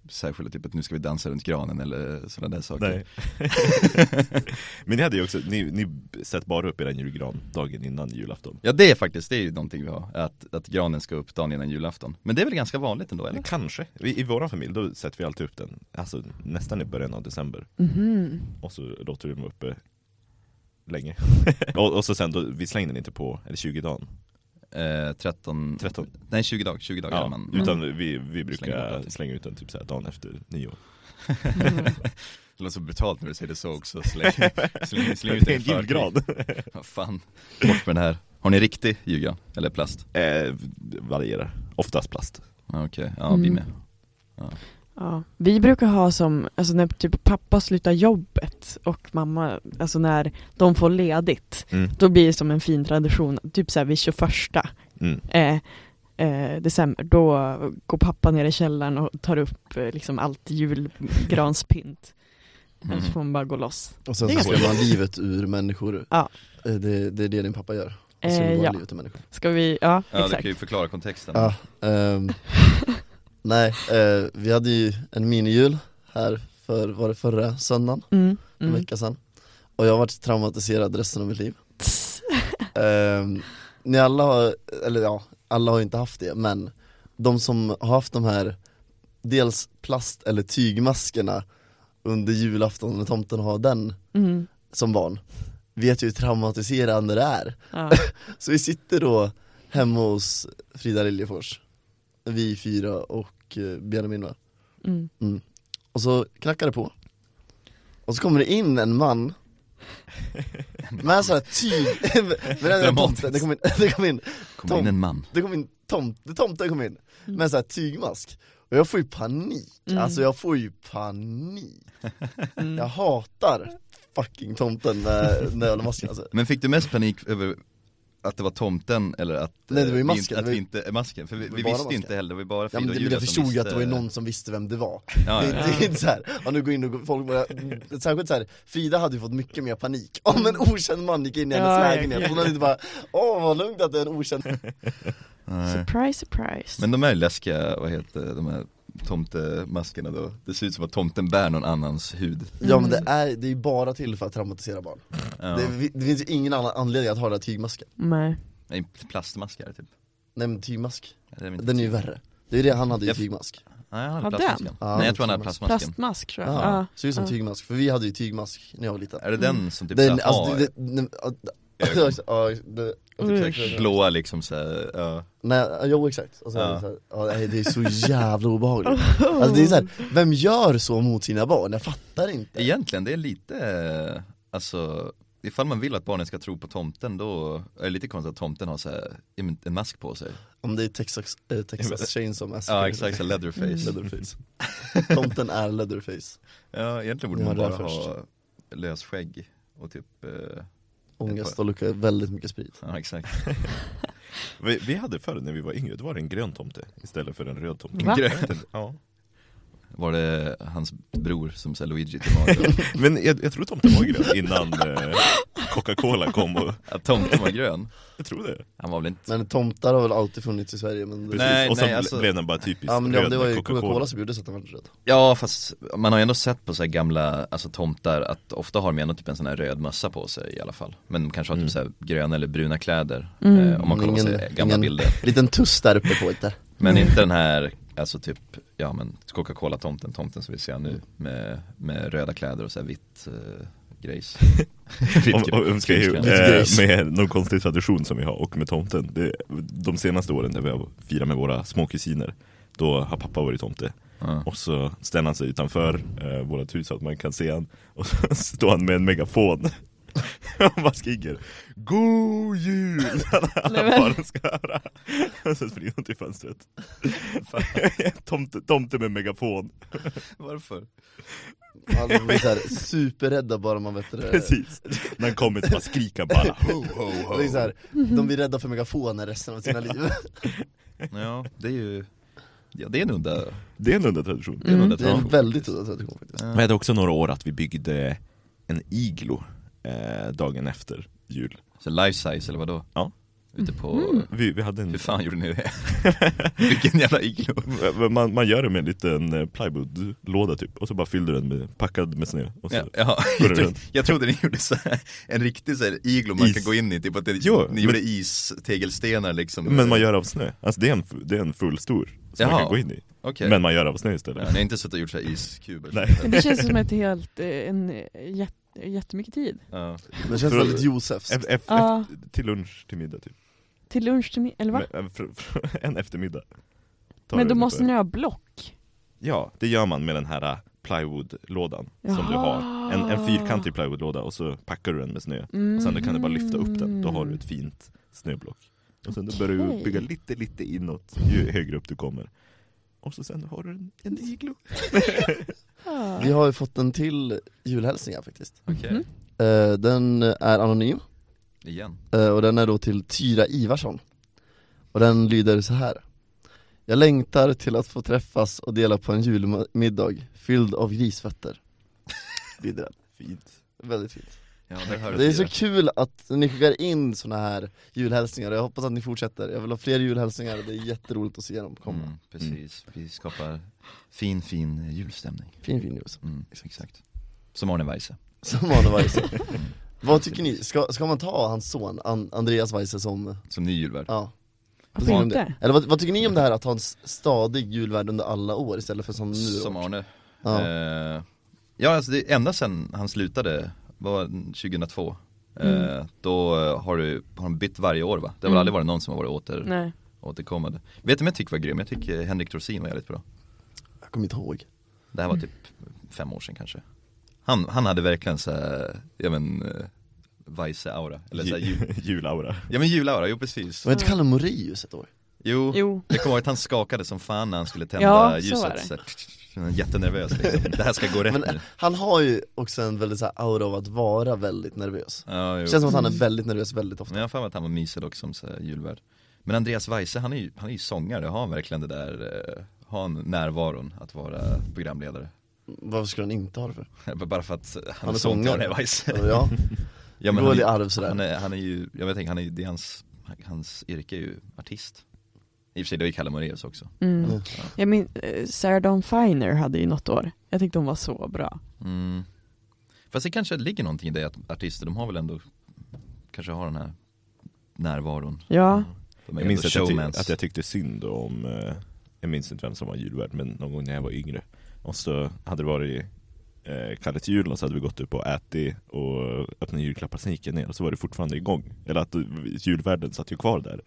särskilda typ att nu ska vi dansa runt granen eller sådana där saker. Nej. Men ni hade ju också, ni, ni sätt bara upp er julgran dagen innan julafton. Ja det är faktiskt, det är ju någonting vi har. Att, att granen ska upp dagen innan julafton. Men det är väl ganska vanligt ändå eller? Kanske. I, I vår familj, då sätter vi alltid upp den, alltså nästan i början av december. Mhm. Och så låter vi dem uppe länge. och, och så sen, då, vi slängde den inte på, eller 20 dagen. Eh, 13, 13. nej 20 dagar, 20 dagar Mm. Ja, man, man utan vi, vi Slänger brukar bort slänga, allting. ut den typ så här dagen efter nyår. Det låter så brutalt när du säger det så också, släng, släng, släng ut Det den är i en förtid. julgran. Vad fan, bort med den här Har ni riktig julgran? Eller plast? eh, det varierar. Oftast plast. Ja, Okej, ja vi Mm. med Ja. Vi brukar ha som, alltså när typ pappa slutar jobbet och mamma, alltså när de får ledigt, Mm. då blir det som en fin tradition, typ såhär vid 21 Mm. eh, eh, december, då går pappa ner i källaren och tar upp eh, liksom allt julgranspynt. Mm. Annars Alltså, får man bara gå loss. Och sen Det är så ganska slår man livet ur människor Ja. Eh, det, det är det din pappa gör, han Eh, slår bara ja. livet ur människor Ska vi, ja, Ja du exakt. kan ju förklara kontexten Ja, ehm, Nej, eh, vi hade ju en minijul här för, var det förra söndagen? Mm, En mm. vecka sedan Och jag har varit traumatiserad resten av mitt liv Ehm, Ni alla har, eller ja, alla har ju inte haft det men De som har haft de här Dels plast eller tygmaskerna Under julafton när tomten har den Mm, som barn Vet ju hur traumatiserande det är ja. Så vi sitter då hemma hos Frida Liljefors Vi fyra och eh, Benjamin va? Mm. Och så knackar det på Och så kommer det in en man Med en sån här tyg, med den där Dramatiskt. tomten, det kom in, det kom in, Kom in en man det kom in tomte, tomten kom in Med en sån här tygmask Och jag får ju panik, Mm. alltså jag får ju panik Mm. Jag hatar fucking tomten med den jävla masken alltså Men fick du mest panik över att det var tomten eller att Nej, det var ju eh, vi masken. inte- att Det var vi ju- inte, eh, masken? För vi, Det var vi bara visste ju masken. inte heller, det var ju bara Ja Frida men det, och men Julia jag som förstod ju att det visste- var ju någon som visste vem det var ja, Det, ja, ja. det är inte såhär, ja, nu går in och går- folk börjar, särskilt såhär, Frida hade ju fått mycket mer panik om en okänd man gick in i hennes Ja, ja, lägenhet, ja. hon hade inte bara, åh vad lugnt att det är en okänd Nej. Surprise, surprise. Men de är ju läskiga, vad heter de här tomtemaskerna då? Det ser ut som att tomten bär någon annans hud Ja men det är, det är ju bara till för att traumatisera barn, ja. det, det finns ju ingen annan anledning att ha den här tygmasken Nej. Nej, Plastmaskar typ Nej men tygmask, Den inte Den är ju värre Det är det, han hade ju Jag- tygmask Nej han hade Ja, plastmasken. den. Ja, Nej jag tror han hade plastmasken. plastmasken. Plastmask tror jag. Ja, Ja. ser ut som ja. tygmask, för vi hade ju tygmask när jag var liten Är det den som typ Den, såhär alltså, har det, det, ja, det, ja, det, ja, exakt. blåa liksom såhär, ja. Nej, jo exakt, och så, Ja. så, ja, nej, det är så jävla obehagligt Alltså det är så här, vem gör så mot sina barn? Jag fattar inte Egentligen det är lite, eh, alltså Ifall man vill att barnen ska tro på tomten då är det lite konstigt att tomten har så här, ja, men en mask på sig Om det är Texas, eh, Texas Chainsaw Massacre Ja exakt, så här leatherface Leatherface Tomten är leatherface, Ja egentligen borde Ja, man det är bara först. ha lösskägg och typ, eh, ångest och luktar väldigt mycket sprit ja exakt Vi, vi hade förr när vi var yngre, då var det en grön tomte istället för en röd tomte Va? Jag vet inte, ja. Var det hans bror som sa Luigi till Mario? Men jag, jag tror tomten var grön innan eh, Coca-Cola kom och, Att tomten var grön? jag tror det Han var väl inte Men tomtar har väl alltid funnits i Sverige men Precis. det, Nej, Och sen nej, ble- alltså- blev den bara typiskt Ja men det, röd det med var ju Coca-Cola som gjorde så att den var röd Ja fast man har ju ändå sett på så här gamla, alltså tomtar att ofta har de ju ändå typ en sån här röd mössa på sig i alla fall Men de kanske har Mm. typ så här gröna eller bruna kläder Mm. eh, om man kollar på så Ingen- här gamla ingen- bilder Liten tuss där uppe på inte Men inte den här, alltså typ, ja men Coca-Cola tomten, tomten som vi ser nu med, med röda kläder och så här vitt eh, grejs Vitt Om, grejs. om, om, ska jag ju, Vitt grejs. eh, med någon konstig tradition som vi har och med tomten det, De senaste åren när vi har firat med våra små kusiner Då har pappa varit tomte Ja. Och så ställer han sig utanför eh, vårt hus så att man kan se han Och så står han med en megafon Han bara skriker God jul! Alla men- barnen ska höra Och så springer han till fönstret tomte, tomte med megafon, Varför? Alla blir såhär superrädda bara man vet Eh. det precis När han kommer så bara skriker han bara ho, Oh, ho, Det är ho. så här, de blir rädda för megafoner resten av sina liv Ja, det är ju, ja det är en udda, Det är en udda tradition det är en Mm. udda Det är en tradition Eh, väldigt udda tradition faktiskt Ja. Vi hade också några år att vi byggde en iglo eh, dagen efter jul. Så life size eller vadå? Ja. Ute på, Vi, vi hade en... hur fan gjorde ni det? Vilken jävla iglo Man, man gör det med en liten eh, plywoodlåda typ, och så bara fyller du den med, packad med snö. Och så... Ja, ja. går det Jag, tro, runt. jag trodde ni gjorde så här, en riktig så här iglo man Is. kan gå in i, typ att det, Jo, ni men- gjorde istegelstenar liksom Men man gör av snö, alltså det är en, f- det är en full stor som man Jaha. kan gå in i. Okej. Men man gör av snö ja, istället. Ni har inte suttit och gjort så här iskuber? Nej. Men det känns som ett helt, eh, en eh, jätt- jättemycket tid. Ja. Det känns Tror- väldigt Josefs F, f, f, Ja, till lunch, till middag typ. till lunch till middag, eller va? Men, eh, fr- fr- en eftermiddag. Tar Men då det ungefär. måste ni ha block. Ja, det gör man med den här eh, plywoodlådan som du Jaha. har. En, en fyrkantig plywoodlåda och så packar du den med snö. Och sen då kan du bara lyfta upp den, då har du ett fint snöblock. Och sen då börjar du Okej. bygga lite, lite inåt ju högre upp du kommer. Och så sen har du en, en iglo. Ja. Vi har ju fått en till julhälsning här faktiskt Okej, Mhm. Eh, Den är anonym igen eh, och den är då till Tyra Ivarsson Och den lyder så här Jag längtar till att få träffas och dela på en julmiddag fylld av grisfötter Lyder den, Fint. väldigt fint ja, där hör du Det är så Tyra. kul att ni skickar in såna här julhälsningar och jag hoppas att ni fortsätter Jag vill ha fler julhälsningar, det är jätteroligt att se dem komma mm, Precis, vi skapar fin fin julstämning Fin fin ljus, mm, Exakt Som Arne Weise som Arne Weise Vad tycker ni, ska, ska man ta hans son An- Andreas Weise som, som ny julvärd ja Vad Varför tycker ni om inte? det? Eller vad, vad tycker ni om det här att ha en s- stadig julvärd under alla år istället för som nu? Som Arne ja. Eh, ja, alltså det, ända sedan han slutade, vad var det, 2002, eh, då eh, har, du, har de bytt varje år va? Det har väl Mm. aldrig varit någon som har varit åter, Nej. återkommande. Vet du vem jag tycker var grym? Jag tycker Henrik Dorsin var jävligt bra. Jag kommer inte ihåg Det här var typ fem år sedan kanske. Han, han hade verkligen så här, ja men, eh, Weise-aura, eller så här, jul, Ju- Julaura. ja men julaura, jo precis. Var inte Kalle Moraeus ett år? Jo, Jo. jag kommer ihåg att han skakade som fan när han skulle tända Ja, så ljuset. var det. Så här, han var jättenervös liksom. Det här ska gå rätt Men nu. han har ju också en väldigt så här aura av att vara väldigt nervös Ja, jo. Känns som att han Mm. är väldigt nervös väldigt ofta Men jag har för mig att han var mysig dock som så här, julvärd Men Andreas Weise, han är ju, han är ju sångare, har han verkligen det där, eh, har han närvaron att vara programledare? Varför skulle han inte ha det för? Bara för att han, är är sångare, sångare. Arne Weise Ja, ja, men han, dålig är- arv sådär han, är, han är ju, jag vet inte, han är, ju- det är hans, hans yrke är ju artist I och för sig, det var ju Kalle Moraeus också Mm. Mm. Jag min, eh, Sarah Dawn Finer hade ju något år. Jag tyckte hon var så bra. mm. Fast det kanske ligger någonting i det att artister, de har väl ändå, kanske har den här närvaron Ja, De är Jag ändå minns att jag, showmans ty- att jag tyckte synd om, eh, jag minns inte vem som var julvärd, men någon gång när jag var yngre Och så hade det varit eh, Kalle till julen och så hade vi gått upp och ätit och öppnat julklappar, sen gick jag ner och så var det fortfarande igång Eller att eh, julvärden satt ju kvar där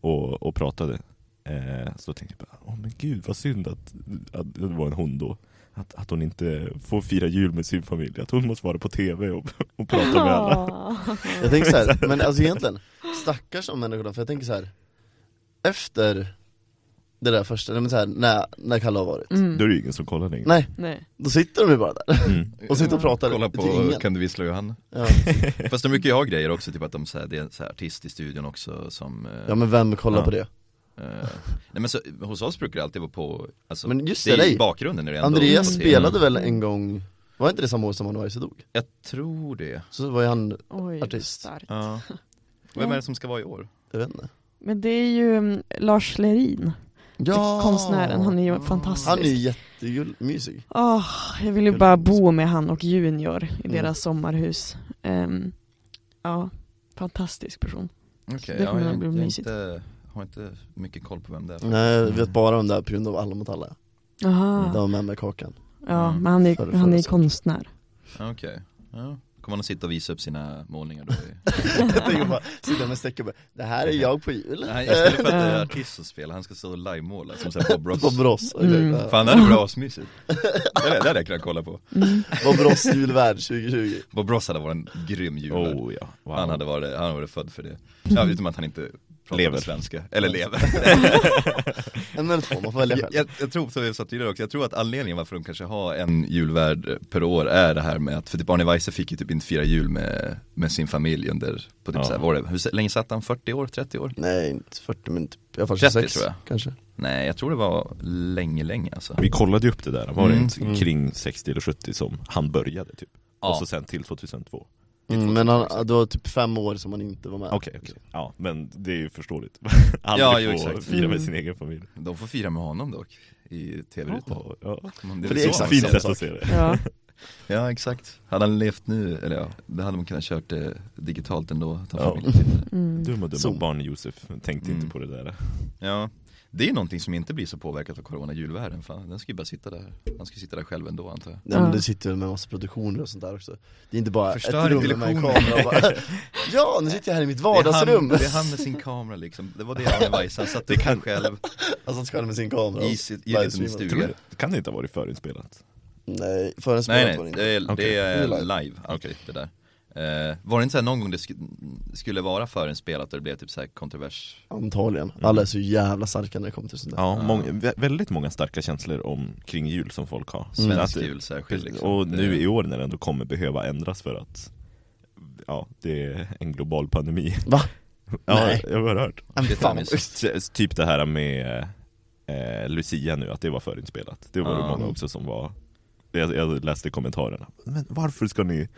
och, och pratade eh, Så tänkte jag bara, åh men gud vad synd att, att det var en hon då att, att hon inte får fira jul med sin familj, att hon måste vara på TV och, och prata med alla Jag tänker så här, men alltså egentligen, stackars de människorna, för jag tänker så här Efter det där första, nej, men så här, när, när Kalle har varit Mm. Då är det ju ingen som kollar längre Nej, Nej. då sitter de ju bara där Mm. och sitter och pratar Kolla till på ingen Kan du vissla Johanna? ja. Fast de brukar ju ha grejer också, typ att de så här, det är en så här artist i studion också som eh, ja men vem kollar Ja. på det? eh, Nej men så, hos oss brukar det alltid vara på, alltså, Men just det är det, i nej. bakgrunden när det ändå Andreas på tv. spelade väl en gång, var inte det samma år som Manuaise dog? Jag tror det, Så var ju han, Oj, Artist. starkt. ja Vem är det som ska vara i år? jag vet inte Men det är ju mm, Lars Lerin, konstnären, han är ju fantastisk. Mm. Han är ju jättemysig Åh, jag vill ju bara bo med han och Junior i Mm. deras sommarhus. Ehm, ja, fantastisk person. Okej, Det kommer ja, nog jag, bli jag mysigt. inte, har inte mycket koll på vem det är Nej, jag vet bara om det här på grund av Alla mot alla, Aha. där var med med Kakan Ja, Mm. men han Förr- är, han är förr- konstnär. Mm. Ja, Okej, ja. Kommer han att sitta och visa upp sina målningar då? i- Jag tänker bara, sitta med streck och bara, det här är jag på jul Nej, istället för att Eh. det är artist som spelar, han ska stå och livemåla som såhär Bob Ross Bob Ross, exakt. Mm. Ja. Fan det hade varit asmysigt Det hade- det hade jag kunnat kolla på Mm. Bob Ross julvärd 2020 Bob Ross hade varit en grym julvärd Oh ja, wow. Han hade varit, han hade varit född för det. Ja, utom att han inte pratar Lever. svenska, eller lever. En eller två, man får välja jag, själv jag, jag tror, som jag sa tidigare också, jag tror att anledningen varför de kanske har en julvärd per år är det här med att, för typ Arne Weise fick ju typ inte fira jul med, med sin familj under, på typ Ja. så här, var det, hur länge satt han? 40 år? 30 år? Nej, inte 40 men typ, jag har 30 46 tror jag. kanske Nej, jag tror det var länge, länge alltså. Vi kollade ju upp det där, var det Mm. inte kring 60 eller 70 som han började typ? Och så sen till 2002? mm, Men han, det var typ fem år som han inte var med Okej, okej. Ja, men det är ju förståeligt. Ja, Aldrig jo, få exakt. fira Mm. med sin egen familj. De får fira med honom dock, i tv-rutan. Ja, ja. Men är För det väl så är exakt han Fint ser sätt saker. att se det. Ja. Ja exakt, hade han levt nu, eller ja, då hade man kunnat kört det digitalt ändå, ta Ja. familjen till det. Mm. Dumma dumma Zoom. barn Josef, tänkte Mm. inte på det där. Ja, det är ju någonting som inte blir så påverkat av corona, julvärden, fan den ska ju bara sitta där, han ska ju sitta där själv ändå antar jag Nej men Ja. det sitter väl med massa produktioner och sånt där också Det är inte bara Förstör ett inte rum med en lektionen. kamera och bara, Ja, nu sitter jag här i mitt det är, han, vardagsrum! det är han med sin kamera liksom, det var det Arne Weise, han satt där själv Alltså han ska ha med sin kamera i, och sitt- i en liten livestreamar. Tror stuga du, kan det inte ha varit förinspelat? Nej, förrän Nej spelet var det nej, inte det är, Okej. det är Det är live, okay. det där Eh, Var det inte såhär någon gång det sk- skulle vara förinspelat och det blev typ såhär kontrovers? Antagligen, Mm. alla är så jävla starka när det kommer till sånt där Ja, Ja. många, vä- väldigt många starka känslor om, kring jul som folk har. Svensk Mm, Att- jul särskilt liksom Och nu Det- i år när det ändå kommer behöva ändras för att Ja, det är en global pandemi Va? Ja, Nej. jag har hört Men Det är fan, missat. usch. S- Typ det här med eh, Lucia nu, att det var förinspelat Det var det Ja. många också som var jag, jag läste kommentarerna Men varför ska ni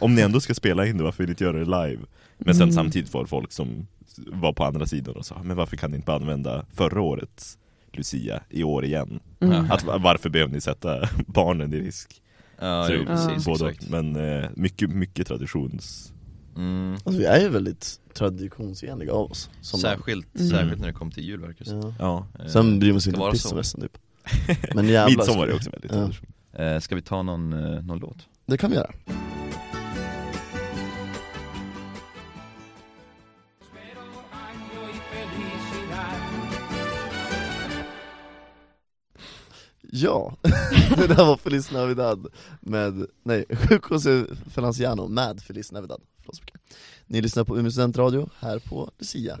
Om ni ändå ska spela in det, varför vill ni inte göra det live? Men sen Mm. samtidigt var det folk som var på andra sidan och sa Men varför kan ni inte bara använda förra årets Lucia i år igen? Mm. Att, varför behöver ni sätta barnen i risk? Ja, Så jo, det- precis, Både och, exakt men eh, mycket, mycket traditions... mm. Alltså vi är ju väldigt traditionsenliga av oss som Särskilt, Mm. särskilt när det kom till jul verkar det som. ja. Ja. Eh, Sen bryr man sig Ska inte vara ett piss så. om resten typ Men jävlar Midsommar är också väldigt Ja. tradition. eh, Ska vi ta någon, eh, någon låt? Det kan vi göra Ja, det där var Feliz Navidad med, nej, Jukose Feliciano med Feliz Navidad Förlåt så mycket. Ni lyssnar på Umeå studentradio här på Lucia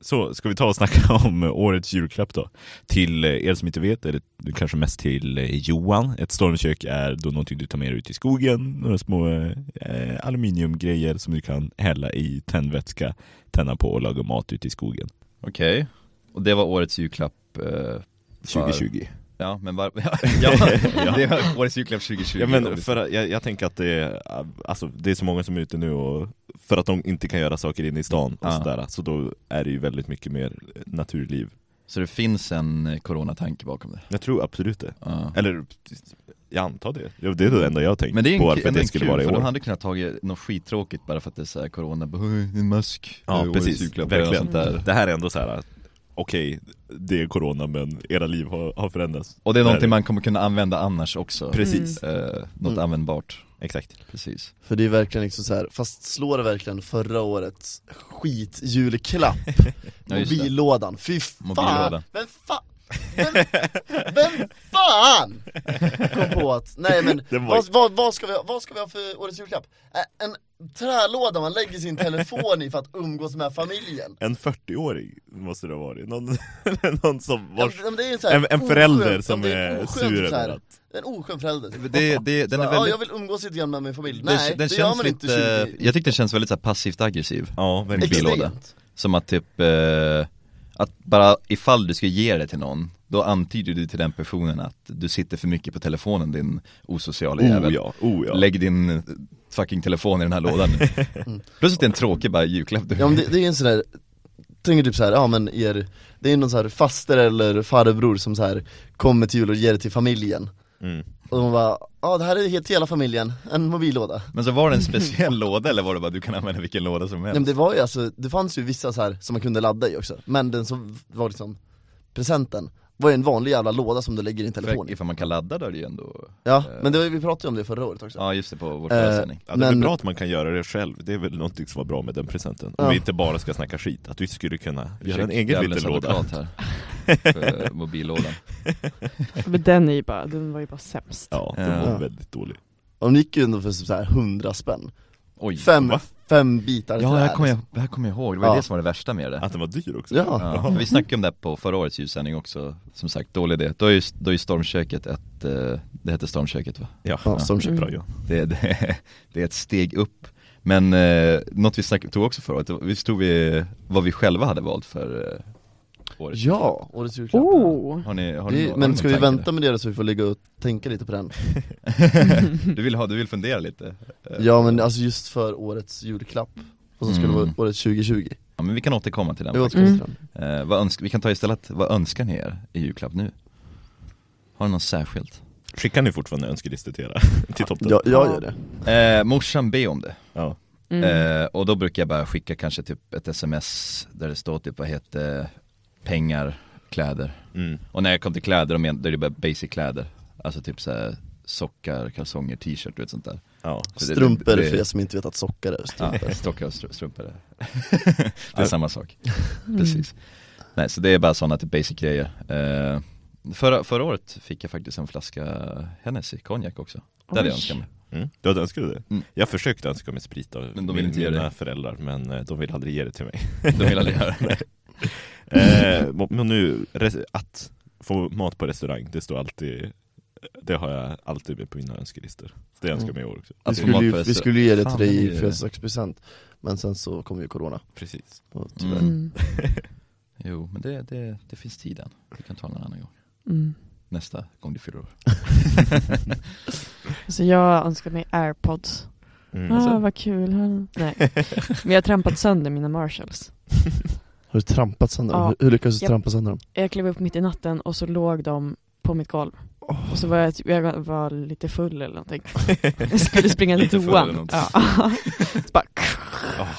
Så, ska vi ta och snacka om eh, årets julklapp då? Till eh, er som inte vet, eller kanske mest till eh, Johan. Ett stormkök är då någonting du tar med dig ut i skogen, några små eh, aluminiumgrejer som du kan hälla i tändvätska, tända på och laga mat ute i skogen. Okej, och det var årets julklapp eh, För- 2020. Ja men var, ja, ja, det var årets julklapp 2020 Ja men för, att- jag, jag tänker att det är, alltså, det är så många som är ute nu och för att de inte kan göra saker inne i stan och Ja. sådär, så då är det ju väldigt mycket mer naturliv Så det finns en eh, coronatanke bakom det? Jag tror absolut det, Ja. eller Jag antar det. Ja, det är det enda jag har tänkt Men det är ju på en, varför ändå det en skulle kul, vara i för de år. hade kunnat tagit något skittråkigt bara för att det är såhär corona, bara, "Oj, en mask, Ja eh, årets precis, julklapp", eller något verkligen. sånt där. Det här är ändå så här. okej, det är corona men era liv har, har förändrats. Och det är Det här är- någonting man kommer kunna använda annars också Precis, eh, Något Mm. användbart, exakt. precis För det är verkligen liksom så här, fast slår verkligen förra årets skitjulklapp Ja, just det. Mobillådan, fy fan! Mobillådan. Vem fan? Vem, vem fan kom på att, nej men Det var- vad, vad, vad, ska vi, ha- vad ska vi ha för årets julklapp? Ä- En trälåda man lägger sin telefon i för att umgås med familjen En 40-åring måste det ha varit, någon, någon som Ja, vars, men det är en, så här en, en förälder oskön- som ja, det en är oskön sur så här- över att En oskön förälder typ. det, det, Den är ja, väldigt, jag vill umgås lite grann med min familj, den- nej den det gör känns man inte lite, 20 jag tyckte den känns väldigt så här passivt aggressiv Ja, verkligen. Exakt. billåda. Extremt. Som att typ, eh, att bara ifall du ska ge det till någon, då antyder du till den personen att du sitter för mycket på telefonen din osociala jävel Oh ja, oh ja. Lägg din eh, fucking telefon i den här lådan nu. Plus att det är en tråkig bara julklapp du Ja men det, det är en sån där, tänker typ så här, ja men er, det är någon så här faster eller farbror som så här kommer till jul och ger det till familjen Mm. Och de bara, ja det här är helt till hela familjen, en mobillåda Men så var det en speciell låda eller var det bara du kan använda vilken låda som Nej men helst? det var ju alltså, det fanns ju vissa så här som man kunde ladda i också, men den som var liksom presenten var ju en vanlig jävla låda som du lägger i din telefon För, i. ifall man kan ladda då är det ju ändå Ja, men det var, ju- vi pratade ju om det förra året också Ja just det, på vår Eh, förra sändning Ja, det är väl Men- bra att man kan göra det själv, det är väl någonting som var bra med den presenten. Om Ja. vi inte bara ska snacka skit, att vi skulle kunna göra en Ursäkta, egen djävulens liten låda. advokat här För mobillådan Men den är ju bara, den var ju bara sämst. Ja, den Ja. var väldigt dålig. Och de gick ju ändå för typ så här 100 spänn, Oj fem, va? fem bitar Ja, det här trä, kommer liksom. jag, det här kommer jag ihåg, det var ju Ja. det som var det värsta med det Att den var dyr också. Ja, Ja, vi snackade om det här på förra årets ljussändning också, som sagt, dålig idé. Då är ju, då är ju stormköket ett, eh, det heter stormköket va? Ja, ja som köper bra ja. Det, det, det är ett steg upp. Men eh, något vi snackade, tog också förra året, visst tog vi vad vi själva hade valt för eh, året? Ja, årets julklapp Oh! Har ni, har ni, Det, har men ni ska vi någon tanke vänta med det då så vi får ligga och tänka lite på den? där? Du vill, ha, du vill fundera lite? Eh, Ja men alltså just för årets julklapp, och så skulle det vara Mm. året 2020 ja, men vi kan återkomma till den Det var faktiskt. Mm. mm. eh, vad önsk, Vi kan ta istället, vad önskar ni er i julklapp nu? Har ni något särskilt? Skickar ni fortfarande önskelistor till era, till toppen? jag, jag gör det Eh, morsan, be om det Ja. Mm. Eh, och då brukar jag bara skicka kanske typ ett sms där det står typ vad heter pengar, kläder. Mm. Och när jag kom till kläder, då men- då är det bara basic kläder. Alltså typ så här sockar, kalsonger, t-shirt, du vet sånt där. Ja. Så det- Strumpor det- för er som inte vet att sockar är strumpor Ja, stockar och stru- strumpor. är- det är samma sak. Mm. Precis. Nej, så det är bara sådana typ basic grejer. Eh, förra, förra året fick jag faktiskt en flaska Hennessy, konjak också. Det hade jag Oj. önskat mig. Mm. Du hade önskat dig det? Mm. Jag försökte önska mig sprit av Men de vill min- inte ge mina dig. föräldrar, men eh, de ville aldrig ge det till mig. De vill aldrig göra det. eh, men nu, res- att få mat på restaurang, det står alltid det har jag alltid med på mina önskelistor. Så Det önskar jag mig i år också. vi, Alltså, skulle ju, matfest- vi skulle ju ge det Fan, till dig det är i ju- födelsedagspresent, men sen så kom ju corona Precis. och Mm. tyvärr Mm. Jo, men det, det, det finns tid än. Vi kan ta den en annan gång. Mm. Nästa gång du fyller år. Alltså jag önskar mig airpods. Mm. Ah, Alltså, vad kul. Nej. Men jag har trampat sönder mina marshalls. Har du trampat sönder dem? Ja. Hur- Hur lyckades du Japp. trampa sönder dem? Jag klev upp mitt i natten och så låg de på mitt golv. Åh. Och så var jag, typ- jag var lite full eller någonting. Jag skulle springa till Lite full eller toan. något. Ja. Så bara, ah,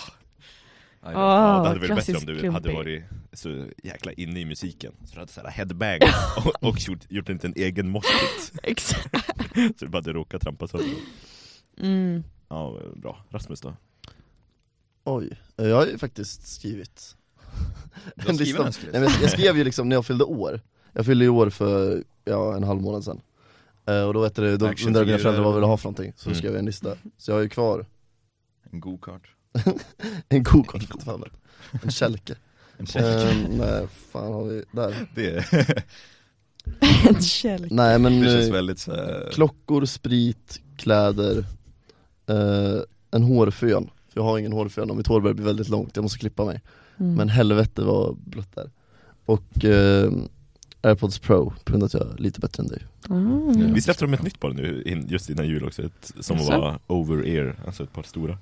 Aj då. ja, det ah, hade varit bättre om klassisk du klumpig. hade varit så jäkla inne i musiken. Så du hade såhär headbang och, och gjort, gjort en liten egen moshpit. Exakt. Så du bara hade råkat trampa sönder den. Mm. Ja, bra. Rasmus då? Oj, jag har ju faktiskt skrivit Du har skrivit en Nej, skrift. men jag skrev ju liksom när jag fyllde år, jag fyllde ju år för ja, en halv månad sedan Eh, Och då, vet du, då Actionfigurer. undrade mina föräldrar vad jag ville ha för någonting, så Mm. skrev jag en lista Så jag har ju kvar En go-kart. en gokart för fan. en kälke En Ehm, Nej, fan har vi där? Det, En kälk. Nej men det känns eh, väldigt så här- klockor, sprit, kläder, eh, en hårfön För jag har ingen hårfön och mitt hår börjar bli väldigt långt, jag måste klippa mig Mm. Men helvete vad blött där Och eh, airpods pro, på grund av att jag är lite bättre än dig Mm. Ja. Vi släppte dem ett nytt par nu, in, just innan jul också, ett, som Jaså? var over-ear, alltså ett par stora.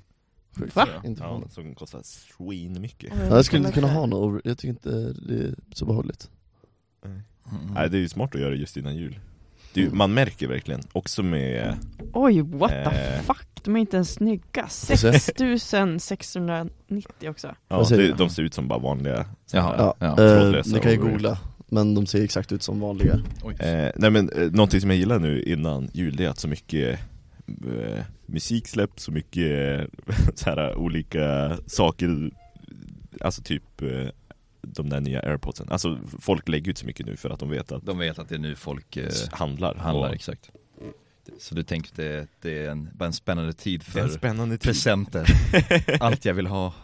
Va? Inte Ja, förvånad. som kostar svin mycket. Oj, Ja, jag skulle kolla inte kunna här. ha något over, jag tycker inte det är så behagligt Mm. Nej, det är ju smart att göra just innan jul. Du, man märker verkligen, också med Oj, what the Eh. fuck, de är inte ens snygga. 6690 också. ja, Vad säger det, du? de ser ut som bara vanliga Jaha. Ja, Ja, eh, trådlösa ni kan ju overhead. googla, men de ser exakt ut som vanliga Eh, nej men eh, någonting som jag gillar nu innan jul det är att så mycket eh, musik släpps, så mycket eh, så här, olika saker, alltså typ eh, de där nya airpodsen. Alltså folk lägger ut så mycket nu för att de vet att De vet att det är nu folk eh, s- handlar. handlar, Och exakt Så du tänker att det, det är en, bara en spännande tid det är en för spännande tid. presenter, allt jag vill ha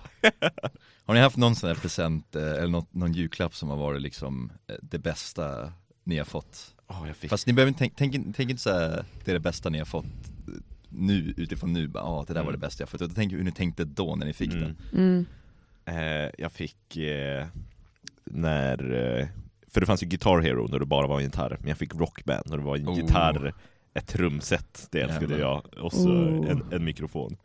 Har ni haft någon sån här present eh, eller något, någon julklapp som har varit liksom eh, det bästa ni har fått? Åh, jag fick... Fast ni behöver inte, tänk, tänk, tänk inte såhär, det är det bästa ni har fått eh, nu, utifrån nu, bara ah, det där var det Mm. bästa jag fått, utan tänk hur ni tänkte då när ni fick Mm. den Mm. Eh, jag fick eh, när, eh, för det fanns ju Guitar Hero när det bara var en gitarr, men jag fick Rockband när det var en Oh. gitarr, ett trumset, det älskade Jävlar. jag, och så Oh. en, en mikrofon.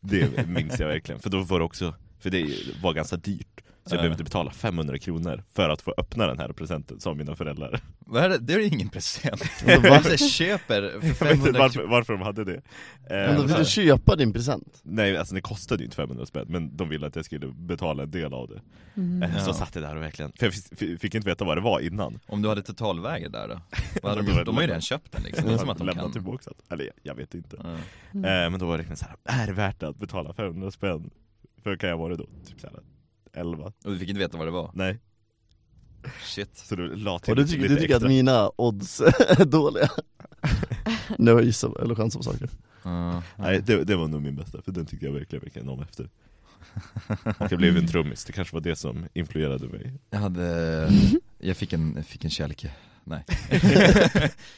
Det minns jag verkligen, för då var det också, för det var ganska dyrt. Så jag Ja. behövde betala 500 kronor för att få öppna den här presenten, sa mina föräldrar. Vad är det? Det är ju ingen present! Men Varför varför- alltså, köper för Jag vet inte 500 varför, varför de hade det. Men då Eh, vill du köpa din present? nej, alltså det kostade ju inte 500 spänn, men de ville att jag skulle betala en del av det. Mm. Eh, Ja. Så satt jag där och verkligen, för jag fick, fick inte veta vad det var innan. Om du hade totalvägrar där då? Vad hade de, Då var gjort? de har ju det lämnat. redan köpt den liksom, det är som att de lämna kan tillbaka den. Eller jag, jag vet inte. Ja. Mm. Eh, men då var det liksom såhär, är det värt att betala 500 spänn? För kan jag vara det då? Typ såhär 11? Och du fick inte veta vad det var? Nej. Shit Så du la till Och du tycker, du tycker att mina odds är dåliga? Nu har jag gissat eller chansat på saker Ja. Nej, det, det var nog min bästa, för den tyckte jag verkligen verkligen om efter. Och jag blev en trummis, det kanske var det som influerade mig. Jag hade, jag fick en, jag fick en kälke, nej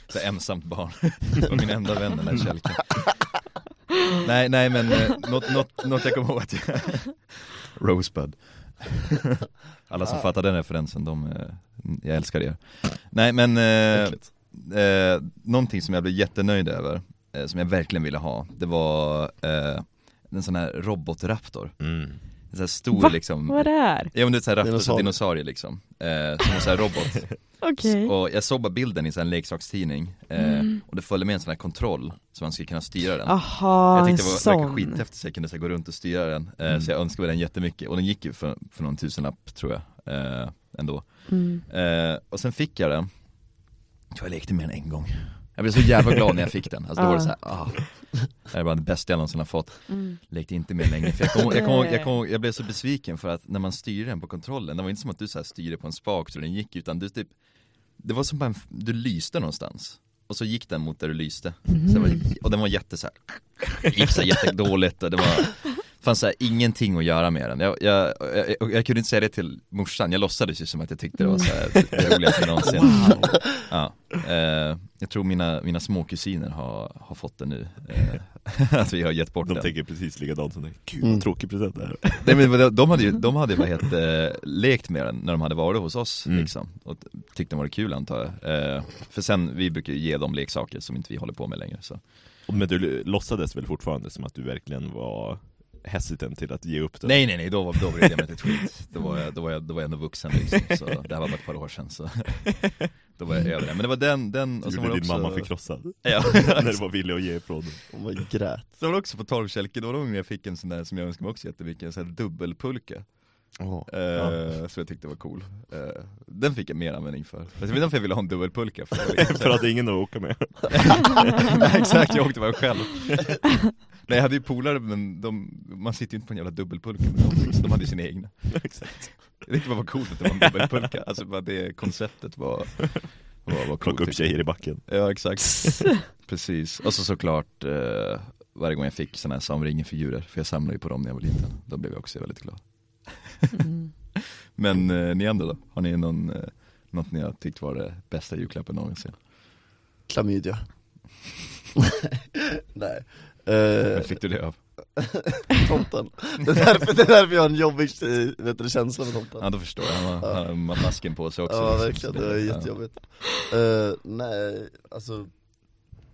Så här ensamt barn, Det var min enda vän den där kälken Nej nej men, eh, något, något, något jag kommer ihåg att jag Rosebud Alla Ah. som fattar den referensen, de, eh, jag älskar er Nej men, eh, Äckligt. eh, någonting som jag blev jättenöjd över, eh, som jag verkligen ville ha, det var eh, en sån här robotraptor Mm. En sån här stor Va? liksom Vad är det här? Ja men det är såhär raptor som Dinosaurier. dinosaurier liksom, eh, som en sån här robot Okej. Mm. Och jag såg bara bilden i en leksakstidning, eh, och det följde med en sån här kontroll, så man skulle kunna styra den Aha, Jag en tyckte det var, verkade sån. Mm. skithäftigt så jag kunde så här, gå runt och styra den, eh, så jag önskade den jättemycket, och den gick ju för, för någon tusenlapp tror jag, eh, ändå Mm. eh, Och sen fick jag den, jag tror jag lekte med den en gång Jag blev så jävla glad när jag fick den, alltså då var det såhär, ah Det här är bara det bästa jag någonsin har fått Mm. lekte inte med längre för jag kommer jag, kom, jag, Nej. kom, jag blev så besviken för att när man styrde den på kontrollen, det var inte som att du så här styrde på en spak så den gick utan du typ Det var som bara en, f- du lyste någonstans och så gick den mot där du lyste så det Mm. var, Och den var jätte så här, gick så här jättedåligt och det var Fanns så här, ingenting att göra med den. Jag, jag, jag, jag, jag kunde inte säga det till morsan, jag låtsades ju som att jag tyckte det var så här, det roligaste någonsin ja. eh, Jag tror mina, mina småkusiner har, har fått den nu, eh, att vi har gett bort De den tänker precis likadant som dig. Gud Mm. vad tråkig present det här. Nej men de- de hade ju, de hade ju bara helt, eh, lekt med den när de hade varit hos oss Mm. liksom Och t- tyckte den var kul antar jag eh, För sen, vi brukar ju ge dem leksaker som inte vi håller på med längre så Men du låtsades väl fortfarande som att du verkligen var hesitant till att ge upp den? Nej nej nej, då, var- då brydde jag mig inte ett skit då var, jag, då, var jag, då var jag ändå vuxen liksom, så det här var bara ett par år sedan så Då var jag över det, men det var den, den Du sen var gjorde det din också- mamma förkrossad. Ja, när du var villig att ge ifrån dig. Och man Oh grät så var det också på torvkälke, då var det gången jag fick en sån där som jag önskade mig också jättemycket, en sån här dubbelpulka Eh, Ja. Så jag tyckte det var cool. Eh, den fick jag mer användning för. Alltså, Fast jag vet inte varför jag ville ha en dubbelpulka för. För att ingen att åka med. Nej, Exakt, jag åkte bara själv. Nej jag hade ju polare men de, man sitter ju inte på en jävla dubbelpulka med dem, så de hade ju sina egna. Exakt. Jag tyckte bara det var coolt att det var en dubbelpulka, alltså bara det konceptet var, var, var coolt. Plocka upp tjejer i backen. Ja exakt, Mm. precis. Och så såklart eh, varje gång jag fick sådana här Samuel Ringen-figurer, för jag samlade ju på dem när jag var liten, då blev jag också väldigt glad. Mm. Men eh, ni andra då? Har ni någon, eh, något ni har tyckt var det bästa julklappen någonsin? Klamydia Nej Eh, Vem fick du det av? tomten det är, därför, det är därför jag har en jobbig eh, vet du, känsla med tomten Ja då förstår jag, han har, Ja. han har masken på sig också Ja liksom. verkligen, det är Ja. jättejobbigt Eh, Nej, alltså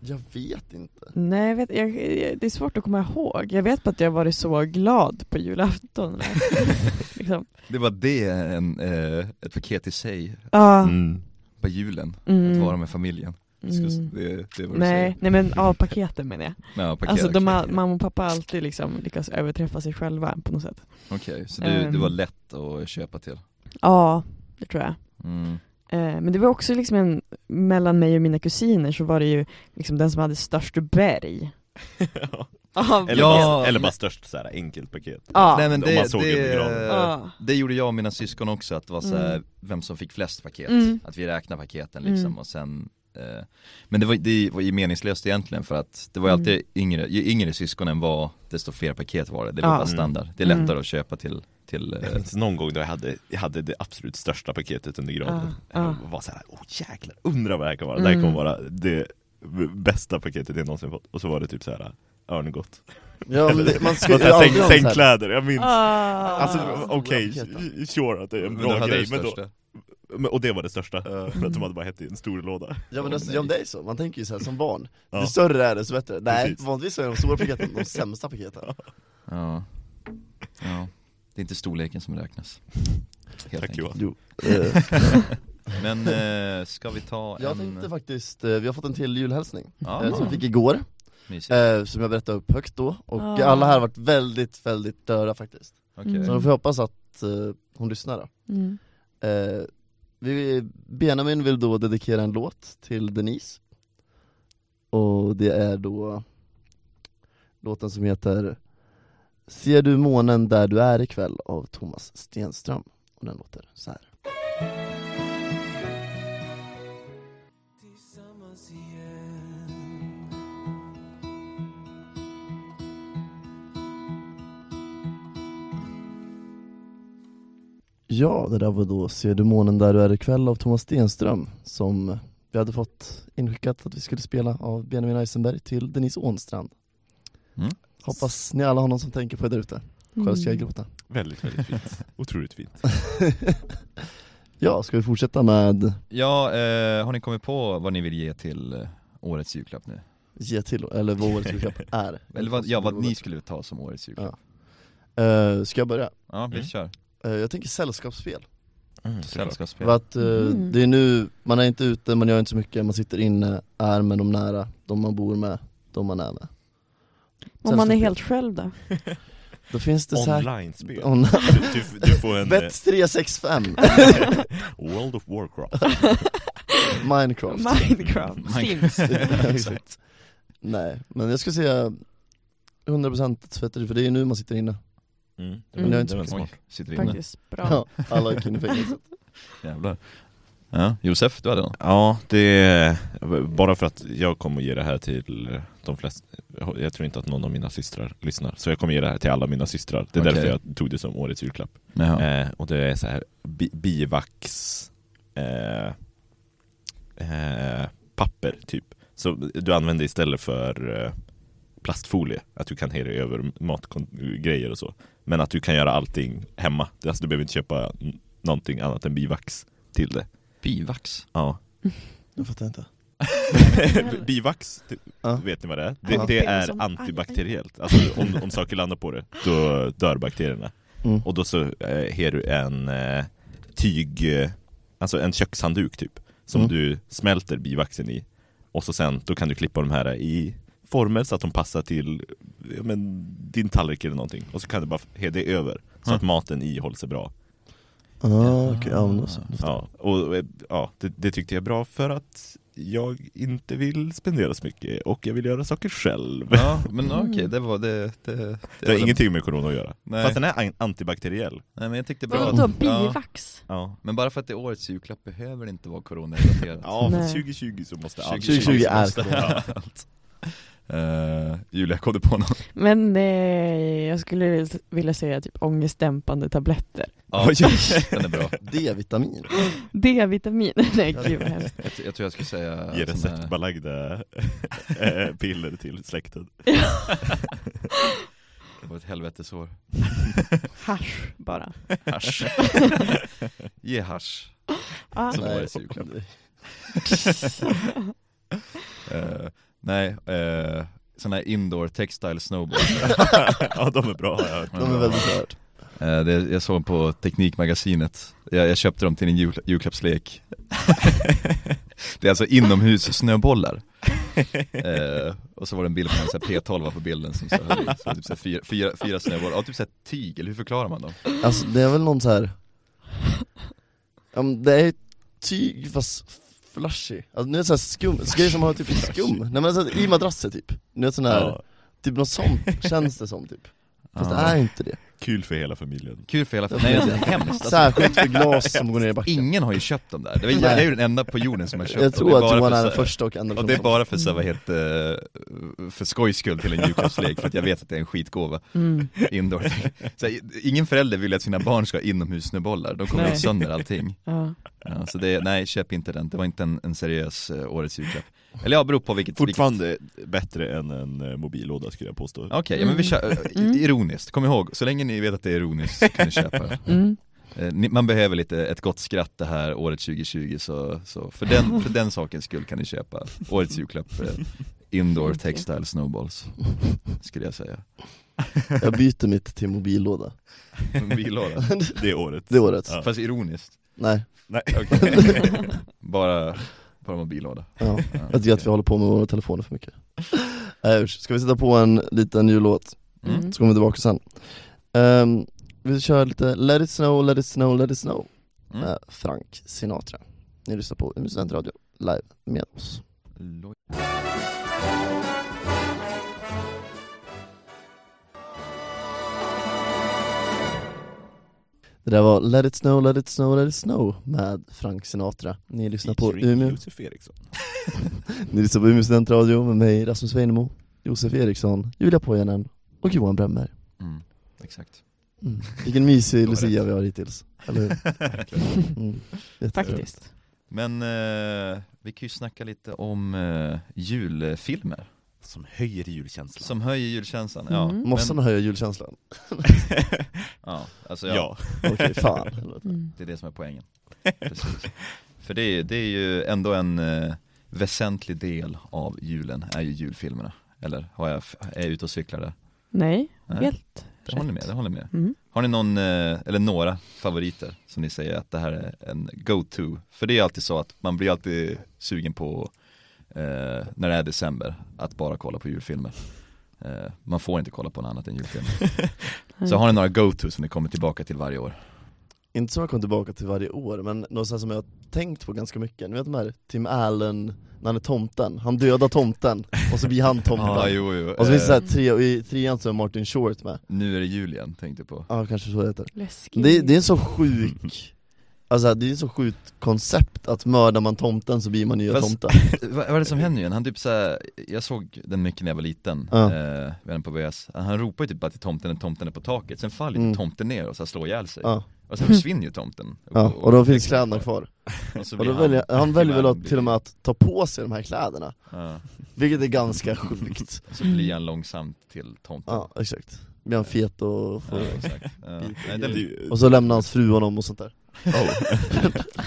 Jag vet inte Nej, jag vet, jag, jag, det är svårt att komma ihåg. Jag vet bara att jag varit så glad på julafton. eller- liksom. Det var det, en, eh, ett paket i sig, Ja. Mm. på julen, att Mm. vara med familjen Mm. Ska- Det, det är vad du Nej, säger. nej men av paketen menar jag. Ja, paket, alltså de okej, har, okej. mamma och pappa har alltid liksom lyckas överträffa sig själva på något sätt. Okej, så det, Ehm. det var lätt att köpa till? Ja, det tror jag. Mm. Eh, Men det var också liksom en, mellan mig och mina kusiner så var det ju liksom den som hade störst berg. Av- eller, Ja, bara, eller men- bara störst så här enkelt paket Ja. Nej men Om man det, såg under granen. det, Ja. det gjorde jag och mina syskon också, att det var så här, vem som fick flest paket, Mm. att vi räknade paketen liksom Mm. och sen eh, Men det var, det var ju meningslöst egentligen för att det var ju alltid Mm. yngre, ju yngre syskonen var desto fler paket var det, det var Ja. bara Mm. standard, det är lättare Mm. att köpa till, till eh, Jag minns någon gång då jag hade, jag hade det absolut största paketet under granen Ja, ja. Jag var såhär, åh jäklar, undrar vad det här kan vara, det här kommer Mm. vara det bästa paketet jag någonsin fått Och så var det typ såhär, örngott Ja, men det, man Man skulle ju såhär, aldrig Säng, ha så här- Sängkläder, jag minns Ah. Alltså Ah. okej, Stora paket, sure att det är en men bra du hade grej det men då, största. Eh. men, Och det var det största, för att de hade bara hett i en stor låda Ja men alltså, ja, men det är så, man tänker ju så här som barn, Ja. ju större är det så bättre. Nej, Precis. vanligtvis så är de stora paketen de sämsta paketen. Ja. ja, det är inte storleken som räknas Helt Tack enkelt. Johan Jo. Eh, Men eh, ska vi ta jag en... tänkte faktiskt, eh, vi har fått en till julhälsning, ja, eh, som men, vi fick igår, mysigt. eh, som jag berättade upp högt då, och Ah. alla här har varit väldigt, väldigt döda faktiskt. Okej. Så Mm. vi får hoppas att eh, hon lyssnar då. Mm. Eh, vi, Benjamin vill då dedikera en låt till Denise Och det är då låten som heter Ser du månen där du är ikväll av Thomas Stenström Och den låter så här. tillsammans igen Ja, det där var då Ser du månen där du är ikväll av Thomas Stenström som vi hade fått inskickat att vi skulle spela av Benjamin Eisenberg till Denise Ånstrand Mm. Hoppas ni alla har någon som tänker på det där ute, själv ska jag Mm. gråta Väldigt, väldigt fint, otroligt fint Ja, ska vi fortsätta med Ja, eh, har ni kommit på vad ni vill ge till eh, årets julklapp nu? ge till, eller vad årets julklapp är Eller vad, ja, vad ni skulle ta som årets julklapp? Eh, Ska jag börja? Ja, vi Mm. kör. Eh, jag tänker sällskapsspel, Mm, Sällskapsspel. för att eh, Mm. det är nu, man är inte ute, man gör inte så mycket, man sitter inne, är med de nära, de man bor med, de man är med Om man är Sällskapsspel. helt själv då? Då finns det säkert Online-spel on- du, du, du får en eh, Bets 365, World of Warcraft Minecraft Minecraft, Sims. Exakt. Nej, men jag skulle säga 100% tvätteri, för det är nu man sitter inne Mm. Mm. Men jag är inte Det var så smart. Oj, sitter inne. Faktiskt bra. Ja, alla är inne i fängelset Jävlar. Ja, Josef, du hade någon? Ja, det är bara för att jag kommer ge det här till de flesta. Jag tror inte att någon av mina systrar lyssnar, så jag kommer ge det här till alla mina systrar. Det är Okej. därför jag tog det som årets julklapp. Ja. Eh, och det är så här bi- bivax eh, eh, papper typ. Så du använder istället för eh, plastfolie, att du kan hela över matgrejer och så. Men att du kan göra allting hemma. Alltså, du behöver inte köpa n- någonting annat än bivax till det. Bivax. Ja. Jag fattar inte B- Bivax, det, Ja. vet ni vad det är? Ja. Det, det är Som- antibakteriellt, alltså om, om saker landar på det, då dör bakterierna mm. Och då så eh, har du en eh, tyg, eh, alltså en kökshandduk typ Som Mm. du smälter bivaxen i Och så sen, då kan du klippa de här i former så att de passar till ja, men, din tallrik eller någonting Och så kan du bara ha det över, så Ja. att maten i håller sig bra ah, okej, ja men då så Ja, och eh, ja, det, det tyckte jag är bra för att jag inte vill spendera så mycket och jag vill göra saker själv. Ja, men okej, det var det... Det, det, Det har var- ingenting med corona att göra. Nej. Fast den är an- antibakteriell. Nej men jag tyckte bra Vadå ja. bivax? Ja. Men bara för att det är årets julklapp behöver det inte vara coronarelaterat Ja, men Nej. 2020 så måste allt. 2020 är så måste- corona. Ja. Eh, Julia, kom du på någon? Men eh, jag skulle vil- vilja säga typ ångestdämpande tabletter. Ja, Oj. den är bra D-vitamin D-vitamin. Nej gud vad hemskt. jag, t- jag tror jag skulle säga Ge sån här- receptbelagda eh, piller till släkten. Det var ett helvetesår Hasch bara. Hasch Ge hasch Ah. Som Nej. årets julklapp Eh, Nej, uh, sån här indoor textile snowboard ja, de är bra har jag hört. De är väldigt rörd Eh, det, jag såg på Teknikmagasinet, jag, jag köpte dem till en jul, julklappslek Det är alltså inomhus snöbollar eh, Och så var det en bild på en sån här P12 på bilden som så här, så typ så här fyra, fyra, fyra snöbollar, ja typ såhär tyg, eller hur förklarar man dem? Alltså det är väl någon så här. Ja, men det är tyg fast flashy, alltså nu är det så här skum, grejer som har typ skum, nej men alltså, i madrasser typ, nu är det sån här, Ja, typ något sånt känns det som typ Fast det Ja. är inte det, kul för hela familjen Kul för hela nej alltså, hemskt alltså, särskilt för glas som går ner i backen Ingen har ju köpt dem där, det var, Nej. jag är ju den enda på jorden som har Jag köpt dem Det tror att bara Johan för är så den här- första och enda Och det är personen bara för så här, vad heter eh, för skojs skull till en julklappslek, för att jag vet att det är en skitgåva Mm. indoor så här, Ingen förälder vill ju att sina barn ska ha inomhussnöbollar, de kommer Nej. ju sönder allting Ja. ja, Så det, nej köp inte den, det var inte en, en seriös eh, årets julklapp Eller ja, beror på vilket Fortfarande bättre än en eh, mobillåda skulle jag påstå vilket- Okej, ja, men vi kör, eh, Mm. ironiskt, kom ihåg, så länge ni vet att det är ironiskt så kan ni köpa det Mm. Eh, ni- Man behöver lite, ett gott skratt det här året 2020 så, så för, den, för den sakens skull kan ni köpa årets julklapp eh, Indoor textile snowballs, skulle jag säga Jag byter mitt till mobillåda En billåda. Det är året Det är årets, Ja. Fast ironiskt, nej Nej. bara, bara mobillåda ja. Ja, Jag tycker att vi håller på med våra telefoner för mycket Nej, usch. Ska vi sätta på en liten jullåt? Mm. Så kommer vi tillbaka sen Ehm, Vi kör lite Let it snow, let it snow, let it snow Mm. med Frank Sinatra Ni lyssnar på Umeå studentradio live med oss Loj. Det där var Let it snow, let it snow, let it snow med Frank Sinatra Ni lyssnar på Featuring Umeå, Josef Eriksson ni lyssnar på Umeå studentradio med mig Rasmus Weinemo Josef Eriksson, Julia Pojanen och Johan Bremmer Mm. Exakt mm. Vilken mysig var det. Lucia vi har hittills, eller hur? Mm. Jättebra. Faktiskt. Men eh, vi kan ju snacka lite om eh, julfilmer Som höjer julkänslan som höjer julkänslan ja, Mm. Måste men, man höja julkänslan? ja, alltså, ja. ja. Okej, fan helvete. Mm. Det är det som är poängen. Precis. För det är, det är ju ändå en eh, väsentlig del av julen, är ju julfilmerna. Eller har jag, f- är jag ute och cyklar där? Nej, Nej, helt det håller med, det håller med. Mm. Har ni någon, eh, eller några favoriter som ni säger att det här är en go-to? För det är alltid så att man blir alltid sugen på, eh, när det är december, att bara kolla på julfilmer. Eh, man får inte kolla på något annat än julfilmer. Så har ni några go-to som ni kommer tillbaka till varje år? Inte som jag kom tillbaka till varje år, men något så här som jag har tänkt på ganska mycket Ni vet de här Tim Allen, när han är tomten, han dödar tomten och så blir han tomten Ah, jo, jo. Och så finns det så Eh, här tre, och i trean så är Martin Short med Nu är det jul igen, tänkte jag på Ja kanske så det heter Läskigt. det, det är en så sjuk, alltså det är ett så sjukt koncept att mördar man tomten så blir man nya Fast- tomten Vad vad är det som händer igen? Han typ såhär, jag såg den mycket när jag var liten, Ja. eh, vännen på VS Han ropar ju typ bara till tomten när tomten är på taket, sen faller ju Mm. tomten ner och så här slår ihjäl sig Ja, Och sen försvinner ju tomten ja. och då finns kläderna kvar och så Och blir då väljer, han väljer väl att, blir- till och med att ta på sig de här kläderna, ja, vilket är ganska sjukt Så blir han långsamt till tomten Ja, exakt Blir han fet och Ja, får exakt. Ja. Nej, Det är den, ju- Och så lämnar hans fru honom och sånt där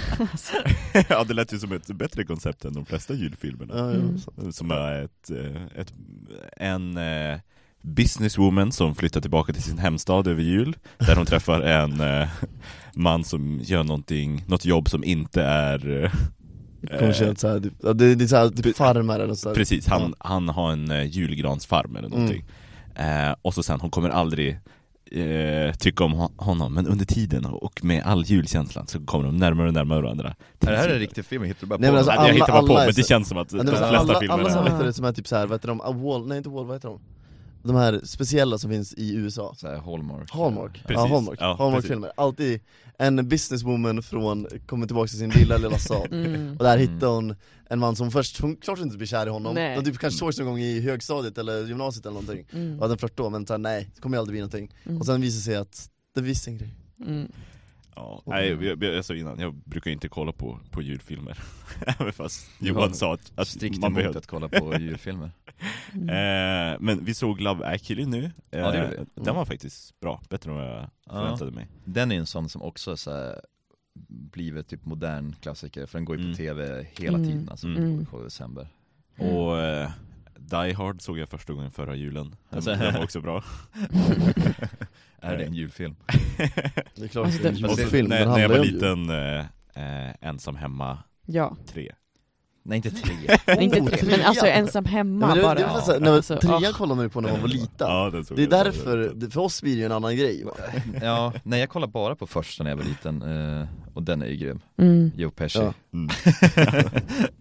Ja det lät ju som ett bättre koncept än de flesta julfilmerna ja, ja, Mm. så. Som är ett, eh, ett, en eh, businesswoman som flyttar tillbaka till sin hemstad över jul Där hon träffar en eh, man som gör någonting, något jobb som inte är eh, Kommersiellt såhär, typ, ja, det, det är såhär typ Pre- farmar eller sådär Precis, han, han har en eh, julgransfarm eller någonting Mm. eh, Och så sen, hon kommer aldrig eh, tycka om ho- honom Men under tiden och med all julkänslan så kommer de närmare och närmare varandra är det här en riktig film, jag hittar bara på Nej, men alltså, Nej, jag alla- hittar bara på, alla är men det så- känns som att de Ja, det är flesta så här, alla, filmerna alla som Ja. heter det som är typ såhär, vad heter de? Ah, Wall, nej inte Wall, vad heter de? De här speciella som finns i USA så här, Hallmark Hallmark, ja Precis. Hallmark, Ja, Hallmark-filmer, alltid en businesswoman från, kommer tillbaka till sin lilla lilla stad Mm. Och där Mm. hittar hon en man som först, hon klart hon inte blir kär i honom, Nej. de typ kanske sågs någon gång i högstadiet eller gymnasiet eller någonting Mm. Och hade en flört då, men såhär, nej, det kommer ju aldrig bli någonting Mm. Och sen visar det sig att det visste en grej Mm. Ja, nej, jag, jag, jag sa innan, jag brukar inte kolla på, på julfilmer. Även fast Johan Ja, sa att, att Strikt man emot behövde. att kolla på julfilmer Eh, men vi såg Love actually nu. Eh, Ja, det gjorde vi. Mm. Den var faktiskt bra, bättre än vad jag förväntade mig. Den är ju en sån som också så här, blivit typ modern klassiker, för den går ju på Mm. tv hela Mm. tiden alltså, Mm. på december Mm. Och eh, Die Hard såg jag första gången förra julen, Alltså- den var också bra Är det en julfilm? Det är klart Alltså, det är en det- Och så julfilm, när, den när jag handlar var ju om jul. liten, eh, eh, ensam hemma Ja, 3 Nej inte tre. Nej, inte Oh, tre, men trean. alltså ensam hemma Ja, men det, bara det var så här, när, Alltså, trean ah. kollade man ju på när man var liten Ja, den såg Det är jag förra därför, julen. det- för oss blir det ju en annan grej va? Ja, nej jag kollade bara på första när jag var liten eh, och den är ju grym. Mm. Joe Pesci. Ja. Mm.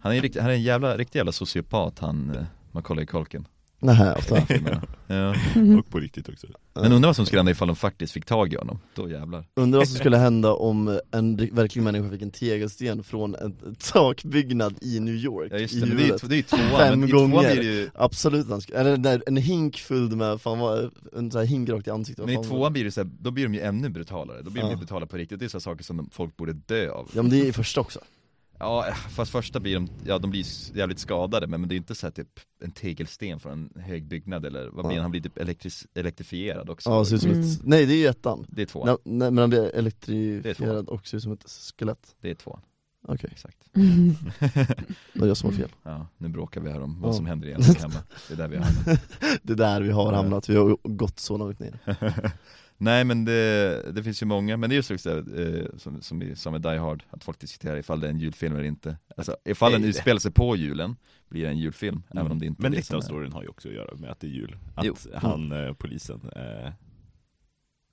han, är ju riktigt, han är en jävla, riktig jävla sociopat han, eh, Macaulay Culkin. Nähä, ofta. filmerna. Ja. Och på riktigt också Men undrar vad som skulle hända ifall de faktiskt fick tag i honom, då jävlar Undrar vad som skulle hända om en ri- verklig människa fick en tegelsten från en takbyggnad i New York Ja just i det, men det är ju huvudet det är ju tvåan, Fem men i tvåan gånger. blir det ju Absolut, han skulle, eller där, en hink fylld med, fan vad, en sån här hink rakt i ansiktet vad men i fan var tvåan blir det så här, då blir de ju ännu brutalare, då blir de Ja. ju brutala på riktigt, det är så här saker som de- folk borde dö av det? Ja men det är i första också Ja, fast första blir de, ja de blir ju s- jävligt skadade men men det är inte så här typ en tegelsten från en hög byggnad eller vad blir Ja. han? Han blir typ elektris- elektrifierad också Ja, ser ut som ett, Mm. nej det är ju ettan Det är tvåan, Nej, nej men han blir Det är tvåan. elektrifierad och ser ut som ett skelett det är tvåan, Okej, exakt Mm. det var jag som har fel Ja, nu bråkar vi här om vad Ja. som händer i ens hemma, det är där vi har Det är där vi har hamnat, vi har gått så långt ner Nej men det, det finns ju många, men det är just också eh, som, som, i- som med Die Hard, att folk diskuterar ifall det är en julfilm eller inte Alltså ifall den Nej. utspelar sig på julen, blir det en julfilm, även om det inte Mm. Men är det lite som av är storyn har ju också att göra med att det är jul Att Jo. han, eh, polisen, eh,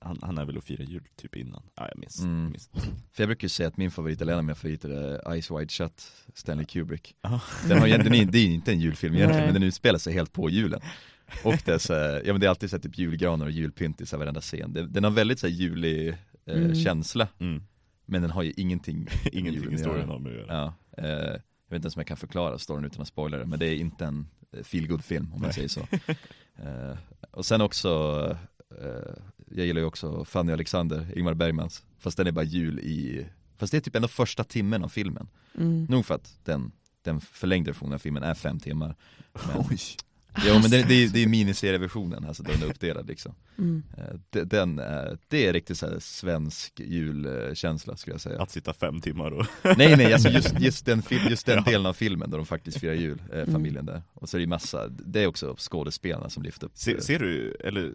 han, han är väl och firar jul typ innan? Ja, jag minns, Mm. minns. För jag brukar ju säga att min favorit, eller en av mina favoriter är Ice Wide Shut, Stanley Kubrick Ja. Den har egentligen, det är ju inte en julfilm egentligen, Nej. men den utspelar sig helt på julen Och det är så här, ja men det är alltid så här, typ julgranar och julpynt i så här, varenda scen Den den har väldigt så här, julig eh, Mm. känsla, Mm. men den har ju ingenting Ingenting Julen i gör storyn det. har med det att göra Ja, eh, jag vet inte ens om jag kan förklara storyn utan att spoila det, men det är inte en feelgood film om man säger Nej. så. Eh, och sen också, eh, jag gillar ju också Fanny och Alexander, Ingmar Bergmans, fast den är bara jul i, fast det är typ ändå första timmen av filmen. Mm. Nog för att den, den förlängda versionen av filmen är fem timmar. Men, Oj. Jo men det, det, är- det är miniserieversionen, alltså den är uppdelad liksom. Mm. Eh, de- den, är- det är riktigt så här svensk julkänsla skulle jag säga. Att sitta fem timmar och... Nej nej, alltså just, just den, fil- just den Ja. Mm. delen av filmen där de faktiskt firar jul, eh, familjen där. Och så är det ju massa, det är också skådespelarna som lyfter upp eh, Se, ser du, eller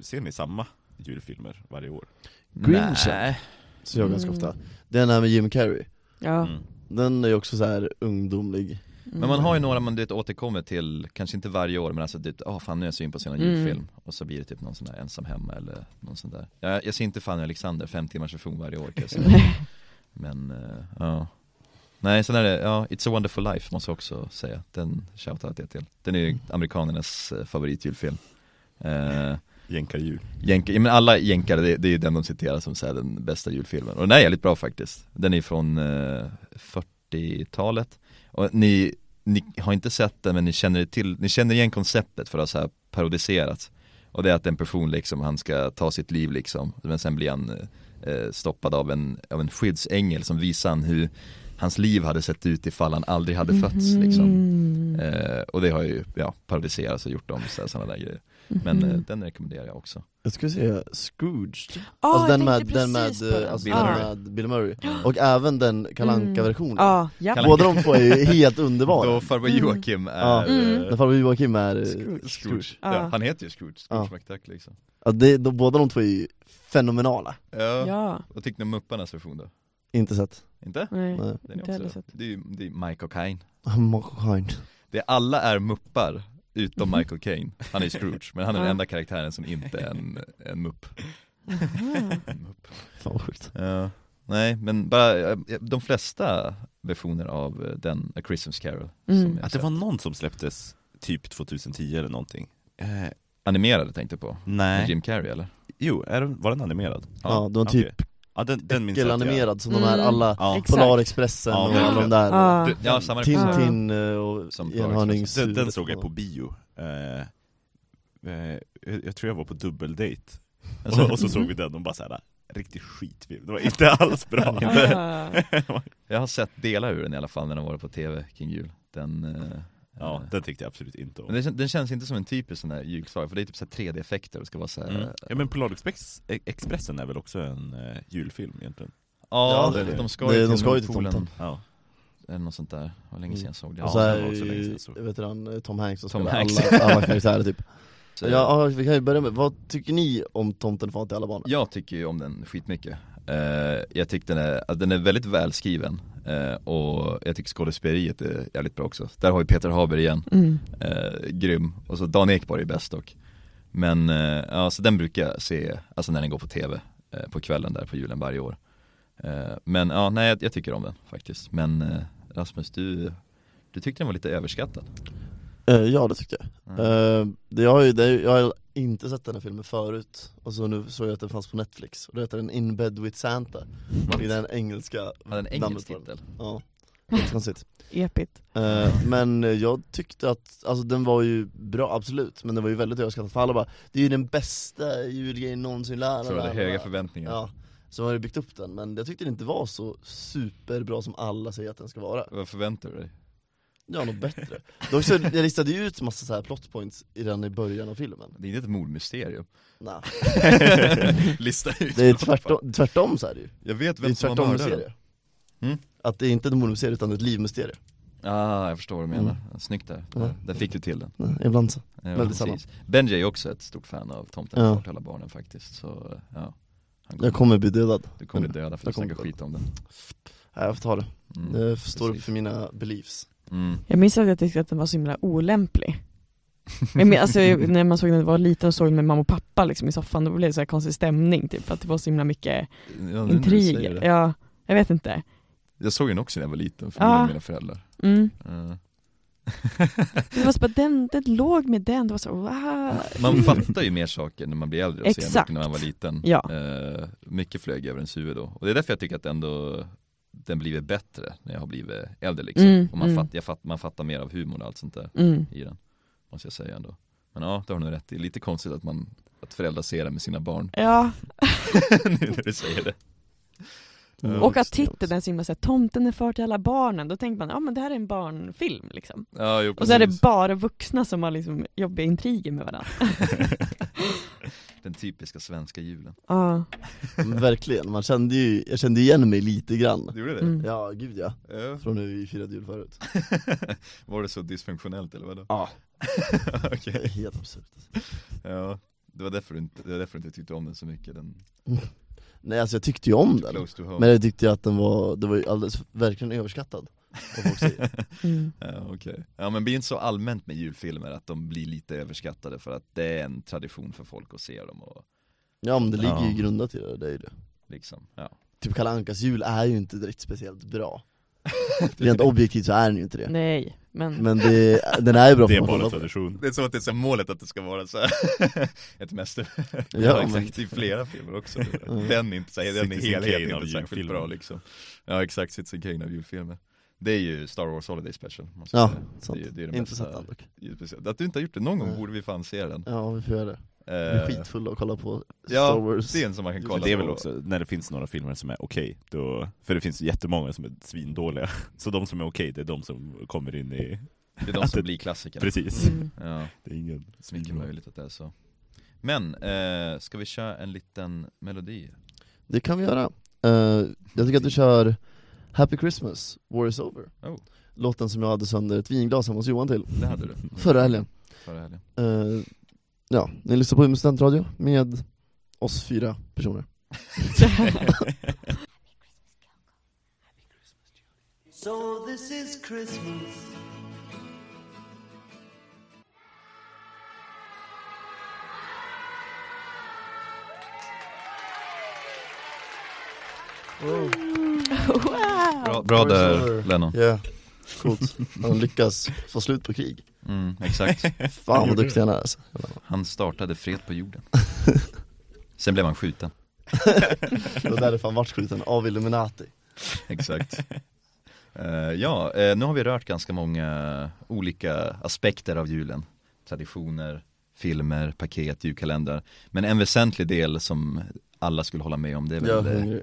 ser ni samma julfilmer varje år? Grinchen. Nej. Så jag ganska Mm. ofta Den här med Jim Carrey, Ja. Mm. Mm. den är ju också så här ungdomlig Men man har ju några man du vet, återkommer till, kanske inte varje år men alltså typ, ah fan nu är jag sugen på att se någon Mm. julfilm Och så blir det typ någon sån där ensam hemma eller någon sån där Jag, jag ser inte Fanny och Alexander fem timmars version varje år kan jag säga Men, eh, ja Nej sen är det, ja It's a wonderful life måste jag också säga, den shoutoutet jag till Den är ju amerikanernas eh, favoritjulfilm eh, Jänkarjul. Jänka, ja, men alla jänkare, det, det är ju den de citerar som säger den bästa julfilmen Och den är jävligt bra faktiskt Den är från eh, 40-talet Och ni, ni har inte sett den men ni känner till, ni känner igen konceptet för att ha så här parodiserats Och det är att en person liksom, han ska ta sitt liv liksom Men sen blir han eh, eh, stoppad av en, av en skyddsängel som visar han hur hans liv hade sett ut ifall han aldrig Mhm. hade fötts liksom Mm. eh, Och det har ju, ja, parodiserats och gjort om sådana där grejer Men Mm. eh, den rekommenderar jag också Jag skulle säga Scrooge Ah, alltså den jag med, tänkte den med, precis på den. Mm. alltså Bill den Murray. med Bill Murray Och även den kalanka versionen Ja, Ah. ja. Kalle- Båda de två är ju helt underbara Då farbror Mm. Joakim Ja. är Mm. eh, När farbror Joakim är eh, Scrooge. Scrooge, Ja. ja, han heter ju Scrooge, Ja. Scrooge McDuck liksom ja, det, de, båda de två är ju fenomenala ja. ja. Vad tyckte ni om Mupparnas version då? Inte sett, Inte? Nej. nej Oh Den är Inte heller också, sett. det är ju det är Michael Caine Mankind. det är, Alla är muppar utom Mm. Michael Caine, han är Scrooge, men han är den enda karaktären som inte är en, en mupp Aha. En mupp. Fan vad sjukt Ja. Nej men bara, eh, de flesta versioner av eh, den A Christmas Carol Mm. som jag Att det sett. var någon som släpptes typ 2010 eller någonting. Eh, Animerade tänkte jag på, med nej. Jim Carrey eller? Jo, är den, var den animerad? Ah, Ja, de är Okej. typ Ja, den, den minns jag att jag- äckelanimerad som de Mm. är alla Ja. Exakt. Polarexpressen Ja, och verkligen. alla de där Ja. Du- Ja, samma Tintin eh, och Som enhörnings... Den, den såg jag på bio. Eh, eh, jag jag tror jag var på dubbeldejt. Alltså- och, och så såg vi den och bara såhär, riktig skitfilm. Det var inte alls bra. Ah. Jag har sett delar ur den i alla fall när den var på tv kring jul Den, eh, ja, eh, den tyckte jag absolut inte om. men den, kän- den känns inte som en typisk sån här julsaga för det är typ så här 3D-effekter och ska vara så här, eh, Mm. Ja men Polarexpressen är väl också en eh, julfilm egentligen? Ja, Ja, det är det. de ska Det- ju de till ska ju till Nordpolen tomten. Ja. eller något sånt där, det var Mm. länge sedan jag såg det och Ja, så det var här, också länge sedan jag såg. vet du han, Tom Hanks som Tom spelar Hanks. alla, alla karaktärer typ Så ja, ja, vi kan ju börja med, vad tycker ni om Tomten far till alla barn? Jag tycker ju om den skitmycket eh, Jag tycker den är, att den är väldigt välskriven eh, och jag tycker skådespeleriet är jävligt bra också Där har ju Peter Haber igen, Mm. eh, grym, och så Dan Ekborg är bäst dock Men, eh, ja så den brukar jag se, alltså när den går på tv eh, på kvällen där på julen varje år eh, Men ja, nej jag, jag tycker om den faktiskt Men eh, Rasmus, du, du tyckte den var lite överskattad Eh, ja det tyckte jag. Mm. Eh, det, jag, har ju, det, jag har inte sett den här filmen förut, och så nu såg jag att den fanns på Netflix, och då heter den In Bed With Santa, det är den engelska Hade en namnet engelsk på den. titel? Ja, jättekonstigt. Epigt. Eh, men jag tyckte att, alltså den var ju bra absolut, men den var ju väldigt överskattad för alla bara Det är ju den bästa julgrejen någonsin lärarna Så var det höga förväntningar Ja, så har det byggt upp den, men jag tyckte den inte var så superbra som alla säger att den ska vara Vad förväntar du dig? Ja, något bättre Dock så, jag listade ju ut massa så här plot points i den i början av filmen Det är inte ett mordmysterium Nej, Lista ut det är tvärtom, tvärtom så är det ju Jag vet Det är vem som har tvärtom mördat den serie Mm. Att det är inte ett mordmuseum utan ett livmuseum Ah, jag förstår vad du menar, snyggt där, Mm. där, där fick du till den Ja, Ibland så Ja, Väldigt precis. Benji är ju också ett stort fan av Tomten Ja. ja. alla barnen faktiskt, så ja Han Jag kommer bli dödad, Du kommer bli döda för Jag du kommer Eh, snackar bli skit om den Nej, jag får ta det, mm. det står upp precis. för mina beliefs Mm. Jag minns att jag tyckte att den var så himla olämplig. Men, men, alltså, jag- när man såg den när jag var liten och såg den med mamma och pappa liksom, i soffan, då blev det så här konstig stämning typ, för att det var så himla mycket Ja, nu när du säger intriger. det. Ja, jag vet inte. Jag såg den också när jag var liten, för Ja. mina- mina föräldrar Eh, Mm. Ja. Det var så bara, den, den låg med den, det var så wow. Man fattar ju mer saker när man blir äldre och ser Exakt. mycket när man var liten Ja. Eh, Mycket flög över ens huvud då, och det är därför jag tycker att ändå den blivit bättre när jag har blivit äldre liksom Mm, och man, mm. fatt, jag fatt, man fattar mer av humor och allt sånt där Mm. i den Måste jag säga ändå Men ja, det har du nog rätt i, lite konstigt att man Att föräldrar ser det med sina barn Ja, nu när du säger det Mm. och att titeln är så himla såhär, tomten är far till alla barnen, då tänker man, ja men det här är en barnfilm liksom. Ja, jo, Och så är det precis. bara vuxna som har liksom jobbiga intriger med varandra. Den typiska svenska julen Ja, Men Mm. Verkligen, man kände ju, jag kände igen mig lite grann Du gjorde det? mm. Ja, gud ja, Ja. från hur vi firade jul förut Var det så dysfunktionellt eller vadå? Ja. Okej, Det är Helt absurt ja det var, därför du inte, det var därför du inte tyckte om den så mycket, den Nej alltså jag tyckte ju Mm, om den, close to home men jag tyckte ju att den var, det var ju alldeles, verkligen överskattad av folk säger. Mm. Ja okej, ja men det är inte så allmänt med julfilmer att de blir lite överskattade för att det är en tradition för folk att se dem och Ja men det ligger ju Ja. grundat i det, det är ju det liksom, ja Typ Kalle Ankas jul är ju inte direkt speciellt bra Rent objektivt så är den ju inte det Nej, men Men det, den är ju bra Det är att bara kolla en på. tradition Det är som att det är så målet att det ska vara så här ett mästerverk Ja, Ja, men- exakt, i flera filmer också Mm. Den är inte, så här- den i Citizen helhet Kane är av inte särskilt julfilmer. bra liksom Ja exakt, Citizen Kane av julfilmer Det är ju Star Wars Holiday Special måste jag Ja, säga. sant, det är, det är det intressant bästa dock julspecial. Att du inte har gjort det någon gång Nej. borde vi fan se den Ja vi får göra det, vi Eh, är skitfulla och kollar på Star Ja, Wars det är en som man kan kolla det är väl på. också när det finns några filmer som är okej, då för det finns jättemånga som är svindåliga. Så de som är okej, det är de som kommer in i... Det är de att det- som blir klassikerna Precis. Mm. mm. Ja, Det är ingen mycket svinbra. möjligt att det är så Men, eh, ska vi köra en liten melodi? Det kan vi göra. Eh, jag tycker att du kör Happy Christmas, War is over. Oh. Låten som jag hade sönder ett vinglas hemma hos Johan till, Det hade du förra helgen. Förra helgen Eh, ja, ni lyssnar på Umeå studentradio med oss fyra personer. So this is Christmas. wow. Bra, bra War is där over. Lennon Yeah. Coolt. Han lyckas få slut på krig. mm, exakt Fan vad duktig han är alltså. Han startade fred på jorden Sen blev han skjuten Det var därför han vart skjuten av Illuminati. Exakt Eh, Ja, eh, nu har vi rört ganska många olika aspekter av julen Traditioner, filmer, paket, julkalendrar Men en väsentlig del som alla skulle hålla med om det är väl Jag är eh, hungrig.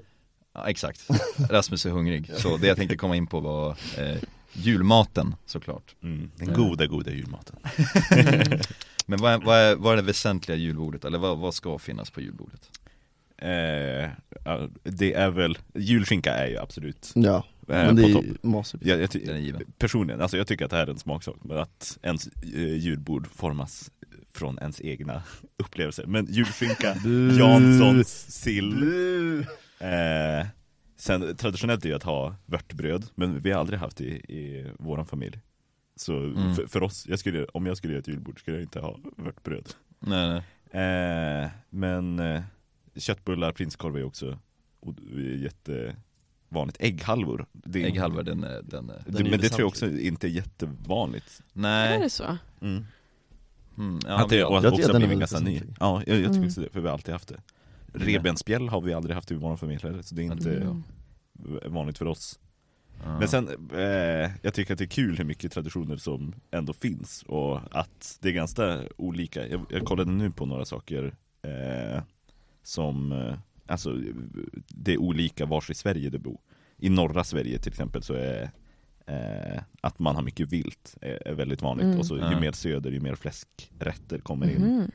Ja, exakt. Rasmus är hungrig. Så det jag tänkte komma in på var eh, julmaten såklart. Mm. Den goda, goda julmaten. Men vad är, vad är, vad är det väsentliga julbordet? Eller vad, vad ska finnas på julbordet? Eh, ja, det är väl, julskinka är ju absolut Ja, Eh, Men det på är topp. ju masigt. Jag, jag, ty- Den är given. personligen, alltså jag tycker att det här är en smaksak, men att ens eh, julbord formas från ens egna upplevelser. Men julskinka, Janssons, sill. Eh, sen traditionellt är ju att ha vörtbröd, men vi har aldrig haft det i, i vår familj. Så Mm. för, för oss, jag skulle, om jag skulle göra ett julbord skulle jag inte ha vörtbröd. Nej, nej. Eh, men eh, köttbullar, prinskorv är ju också o- jättevanligt. Ägghalvor. Det är- Ägghalvor, den, är- den är- Den är det, men det tror jag också väsentlig. inte är jättevanligt. Är Nej, det så? Mm. mm, ja, att det men- och att jag tycker också att den är blivit väldigt ganska ny. väsentlig. Mm. Ja, jag, jag tycker Mm. också det, för vi har alltid haft det. Revbensspjäll har vi aldrig haft i vår familj heller, så det är Ja, inte ja. vanligt för oss. Ja. Men sen, eh, jag tycker att det är kul hur mycket traditioner som ändå finns och att det är ganska olika. Jag, jag kollade nu på några saker eh, som, eh, alltså det är olika vars i Sverige du bor. I norra Sverige till exempel så är eh, att man har mycket vilt eh, är, är väldigt vanligt Mm. och så ju Ja. mer söder ju mer fläskrätter kommer in. Mhm.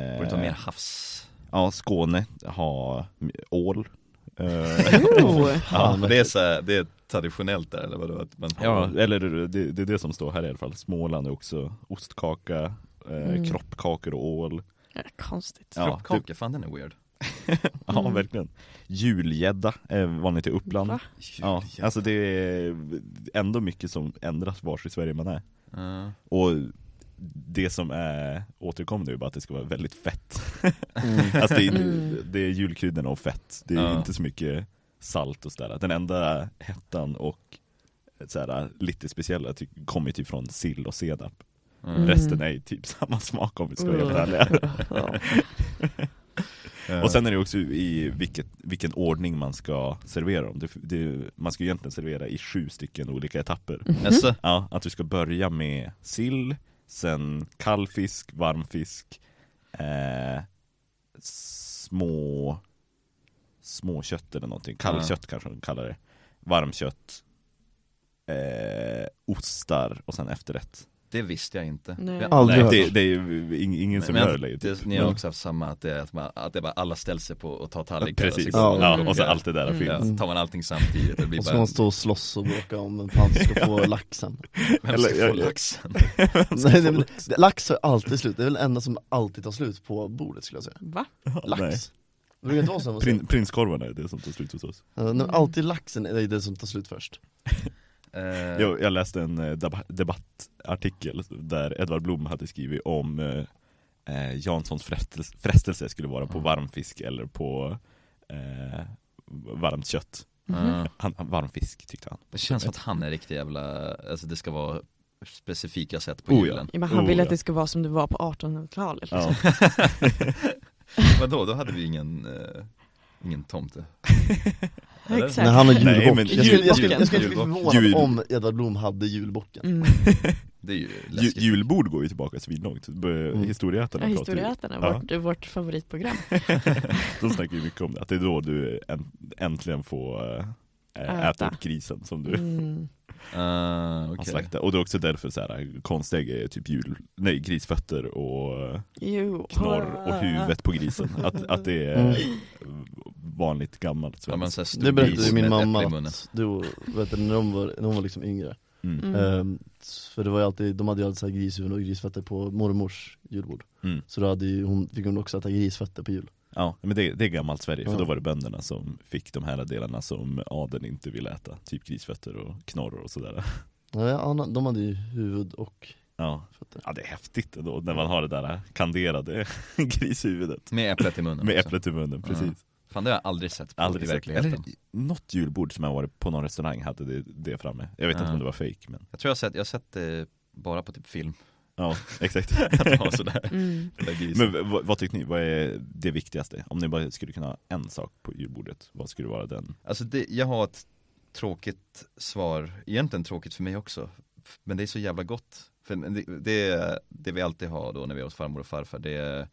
Eh, Borde ta mer havs... Ja, Skåne har m- ål. Eh, Jo. Ja, men typ. det är, så här, det är traditionellt där eller vadå? Att man har- Ja, typ. eller det, det är det som står här i alla fall. Småland är också ostkaka, eh, Mm. kroppkakor och ål. Ja, Konstigt. Ja, Kroppkaka, fan den är weird Ja, Mm. verkligen. Julgädda eh, är vanligt i Uppland. Va? Ja, alltså det är ändå mycket som ändras vars i Sverige man är. Ja. Och det som är återkommande är ju bara att det ska vara väldigt fett. Mm. Alltså det är, Mm. det är julkryddorna och fett. Det är Ja. inte så mycket salt och sådär. Den enda hettan och sådär, lite speciella ty- kommer ju typ från sill och senap. Mm. Resten är ju typ samma smak om vi ska vara Mm. helt ärliga. Oh. Ja. Mm. Och sen är det också i vilket, vilken ordning man ska servera dem. Det, det, man ska ju egentligen servera i sju stycken olika etapper. Jaså? Ja, att du ska börja med sill, sen kall fisk, varm fisk, eh, små, små kött eller någonting. Kallkött kanske de kallar det. Varmkött, eh, ostar och sen efterrätt. Det visste jag inte Nej. Jag har Aldrig Nej, hört. det, det är ju ing- ingen som gör det. typ. det, Ni har också haft samma, att det, att, man, att det bara alla ställer sig på och tar tallrikar Precis, och så, går man ja, och och så plockar. allt det där Mm. finns. ja, så tar man allting samtidigt, det blir Och så bara, ska man stå och slåss och bråka om vem fan som ska få laxen vem ska eller- få jag- laxen? Alltså, Nej, det, är väl- det, Lax har alltid slut, det är väl det enda som alltid tar slut på bordet skulle jag säga Va? Lax Nej. Det brukar inte vara så hemma hos er. Prin, prinskorvarna är det som tar slut hos oss. Ja, nej, men Alltid laxen är det som tar slut först Eh, Jag, jag läste en eh, deba- debattartikel där Edvard Blom hade skrivit om eh, eh, Janssons frestelse, frestelse skulle vara på Mm. varm fisk eller på eh, varmt kött. Mm. ja. Han, han, varm fisk tyckte han. Det känns som att han är riktigt jävla, alltså det ska vara specifika sätt på Oh, ja. julen Ja, men han Oh, vill ja. att det ska vara som det var på 1800-talet. Liksom. Ja. Vadå, då hade vi ingen, eh, ingen tomte? Eller? Exakt. När han har julbock men- Jag skulle, jag skulle, jag skulle inte bli Julbock. förvånad Jul- om Edvard Blom hade julbocken Mm. Det är ju Ju, läskigt julbord går ju tillbaka svinlångt. Mm. Historieätarna Ja, pratar ju- Historieätarna, Ja. vårt, vårt favoritprogram. De snackar ju mycket om det, att det är då du änt- äntligen får eh, äta, Äta. upp grisen som du Mm. Ah, har okej. slaktat. Och det är också därför så här, konstägg är typ jul, nej, grisfötter och eh, Jo. knorr Ah. och huvudet på grisen. Att, att det Eh, är vanligt gammalt Mm. Ja, men svenskt. så här stor Det berättade gris ju med min ett äpple i mamma munnen. att, då, vet du, när de var, när de var liksom yngre Mm. Mm. Ehm, För det var ju alltid, de hade ju alltid så här grishuvuden och grisfötter på mormors julbord Mm. Så då hade ju hon, fick hon också äta grisfötter på jul Ja, men det, det är gammalt Sverige, för Ja. då var det bönderna som fick de här delarna som adeln inte ville äta. Typ grisfötter och knorr och sådär. ja, ja, Anna- De hade ju huvud och Ja. fötter ja, det är häftigt ändå när man har det där äh, kanderade grishuvudet. Med äpplet i munnen Med också. äpplet i munnen, Ja. precis. Fan det har jag aldrig sett på Aldrig i sett. verkligheten Eller, något julbord som jag varit på någon restaurang hade det, det framme. Jag vet Ja. inte om det var fake men Jag tror jag har sett, jag har sett det bara på typ film ja, exakt. Att det var sådär, Mm. där grisen Men v- vad, vad tyckte ni, vad är det viktigaste? Om ni bara skulle kunna ha en sak på julbordet, vad skulle vara den? Alltså det, jag har ett tråkigt svar, egentligen tråkigt för mig också F- Men det är så jävla gott För det, det, det vi alltid har då när vi är hos farmor och farfar det är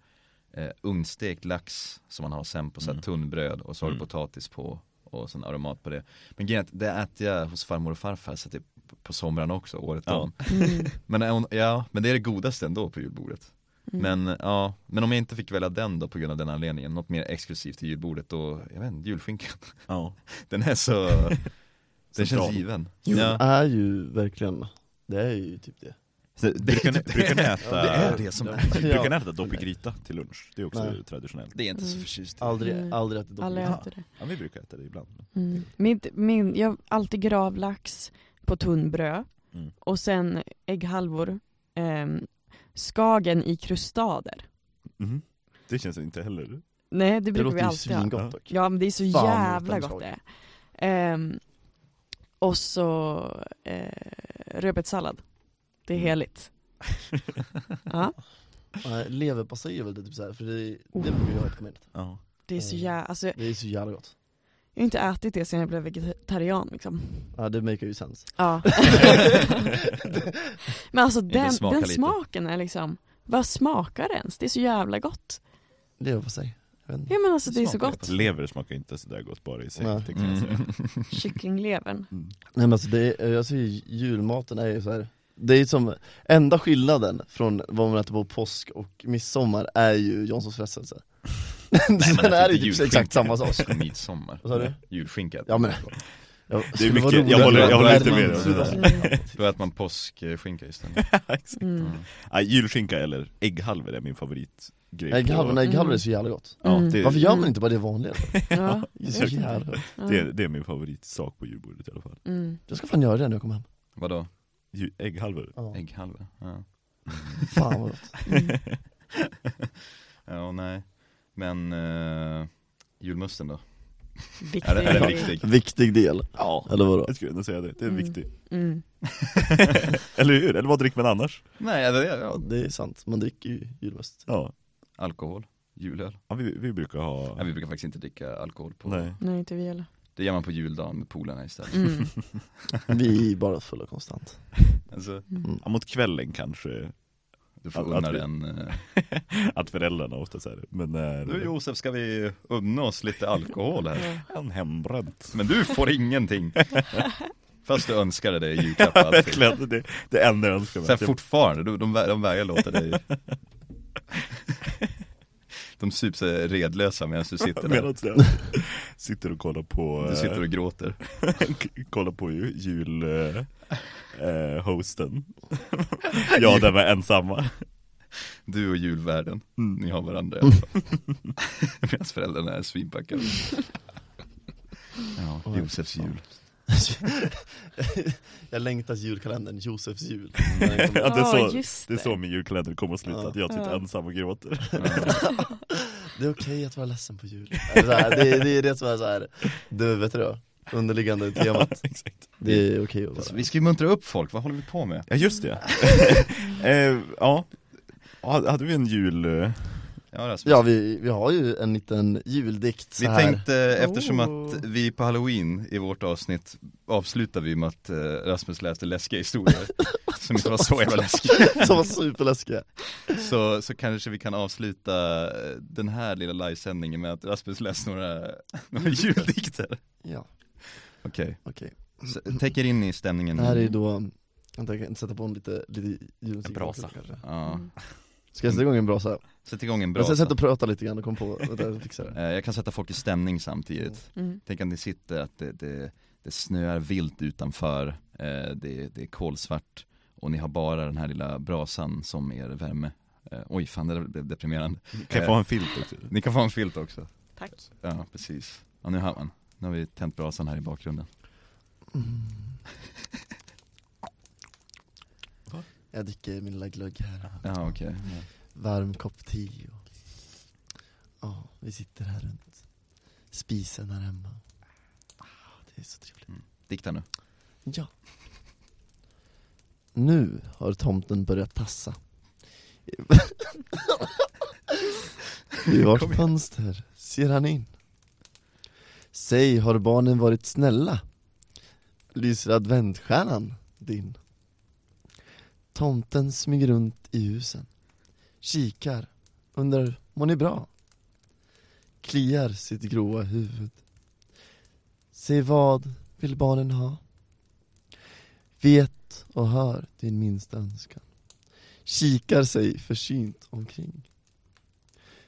eh, ugnstekt lax som man har sen på så här Mm. tunnbröd och så har du Mm. potatis på och sen aromat på det Men grejen är att det äter jag hos farmor och farfar så att det är p- på somrarna också, året Ja. om Mm. Men, är hon- ja, men det är det godaste ändå på julbordet Men ja, men om jag inte fick välja den då på grund av den anledningen, något mer exklusivt till julbordet då, jag vet inte, julskinkan. Ja, Den är så, Den central. känns given Jo, ja. det är ju verkligen, det är ju typ det Så, brukar, ni, brukar ni äta, Det är det som brukar ni äta dopp i gryta till lunch? Det är också Nej. traditionellt. Det är inte så Mm. förtjust i. Aldrig, Mm. aldrig ätit Aldrig dopp. ätit det. Ja, vi brukar äta det ibland. Mm. Mitt, min, jag har alltid gravlax på tunnbröd Mm. och sen ägghalvor, ehm, skagen i krustader. Mhm. Det känns inte heller... Nej det Det brukar vi låter ju alltid ha. svingott dock Ja men det är så Fan, jävla utan gott det skagen. är. Ehm, och så eh, rödbetssallad. Det är Mm. heligt. ja, Nej, Leverpastej är väl det typ såhär, för det, Oh. det brukar jag äta mer Ja. det är så Mm. jävla, alltså jag Det är så jävla gott har inte ätit det sedan jag blev vegetarian liksom. Ja det maker ju sens Ja. Men alltså Inte den, smaka den lite. smaken är liksom, vad smakar det ens? Det är så jävla gott. Leverpastej, jag vet inte Ja men alltså det, är så Smakar gott. Lever smakar inte sådär gott bara i sig, Nej. Mm. det kan jag Mm. säga. Kyckinglevern. Mm. Nej men alltså det är, jag säger ju, julmaten är ju så här. Det är ju som, enda skillnaden från vad man äter på påsk och midsommar är ju Janssons frestelse Sen är alltså, det ju typ exakt samma sak Midsommar Vad sa du? Julskinka Ja, men- Jag, Det är mycket- jag håller- jag håller inte med dig. Mm. Då äter man påskskinka istället Mm. Mm. Ja, julskinka eller ägghalvor är min favoritgrej på- Ägghalvorna, ägghalvor är så jävla gott Ja, Mm. det, Varför gör man inte bara det vanliga? Ja, Det är så jävla gott. ja. det, är- det är min favoritsak på julbordet i alla fall. Mm. Jag ska fan göra det när jag kommer hem Vadå? Ju- Ägghalvor. ja. Ägghalva? Ja, Fan vad gott Mm. ja och nej Men eh, julmusten då? Viktig. Är, det- är den viktig? Viktig del, Ja. eller vadå? Jag skulle ändå säga det, det är Mm. viktigt. Mm. Eller hur? Eller vad dricker man annars? Nej, det är, Ja ja, det är sant, man dricker ju julmust Ja, alkohol, julöl ja vi, vi brukar ha... Nej, vi brukar faktiskt inte dricka alkohol på Nej. Nej inte vi heller. Det gör man på juldagen med polarna istället Mm. Vi är bara fulla konstant alltså, Mm. Ja, mot kvällen kanske, Du får Att- unna att vi- dig en eh, att föräldrarna ofta säger men när... Nu Josef ska vi unna oss lite alkohol här Ja. En hembränt. Men du får ingenting Fast du önskade dig i julklapp och allting Verkligen, det, det enda jag önskar mig. Sen Det- fortfarande, de, de, vä- de vägrar låta dig De sups är redlösa medan du sitter där Medan jag sitter och kollar på, eh, Du sitter och gråter kollar på ju- jul eh, eh, hosten Jag där var ensamma Du och julvärden, Mm. ni har varandra i alla fall Medan föräldrarna är svinpackade Ja, Josefs jul Jag längtar till julkalendern, Josefs jul Ja, det, är så, Ja, just det är det. så min julkalender kommer att sluta, Ja. att jag sitter Ja. ensam och gråter Det är okej att vara ledsen på jul Eller så här, det, är- det är det som är såhär, det vet du då, underliggande temat Exakt. Det är okej att Alltså, vara Vi ska ju muntra upp folk, vad håller vi på med? Ja just det eh, Ja, Ha- hade vi en jul... eh, Ja, Rasmus. Ja vi, vi har ju en liten juldikt så Vi här. tänkte, eftersom Oh. att vi på halloween i vårt avsnitt avslutar vi med att eh, Rasmus läste läskiga historier som inte var så jävla läskiga, som var superläskiga så, så kanske vi kan avsluta eh, den här lilla livesändningen med att Rasmus läste några, några juldikter Ja, Okej, okej okay. täcker in i stämningen Det här är ju då, vänta jag kan sätta på en lite, lite julmusik En brasa. också, kanske. Ja, Mm. Ska jag sätta igång en brasa? sätt igång en Jag ska brasa sätta och prata lite grann och kom på, vänta jag fixar det Eh, Jag kan sätta folk i stämning samtidigt Mm. Tänk att ni sitter, att det, det, det snöar vilt utanför, eh, det, det är kolsvart och ni har bara den här lilla brasan som er värme. Eh, oj fan det där blev deprimerande. Kan jag få en filt också? Ni kan få en filt också. Tack. Ja precis. Ja nu har man. Nu har vi tänt brasan här i bakgrunden. Jag dricker min lilla glögg här Ja okej. varm kopp te och ja, vi sitter här runt spisen här hemma. Ah, Det är så trevligt. Dikta nu. Ja. Nu har tomten börjat tassa. I vårt fönster ser han in. Säg, har barnen varit snälla? Lyser adventsstjärnan din? Tomten smyger runt i husen. Kikar, undrar, mår ni bra? Kliar sitt gråa huvud. Säg vad vill barnen ha? Vet och hör din minsta önskan. Kikar sig försynt omkring.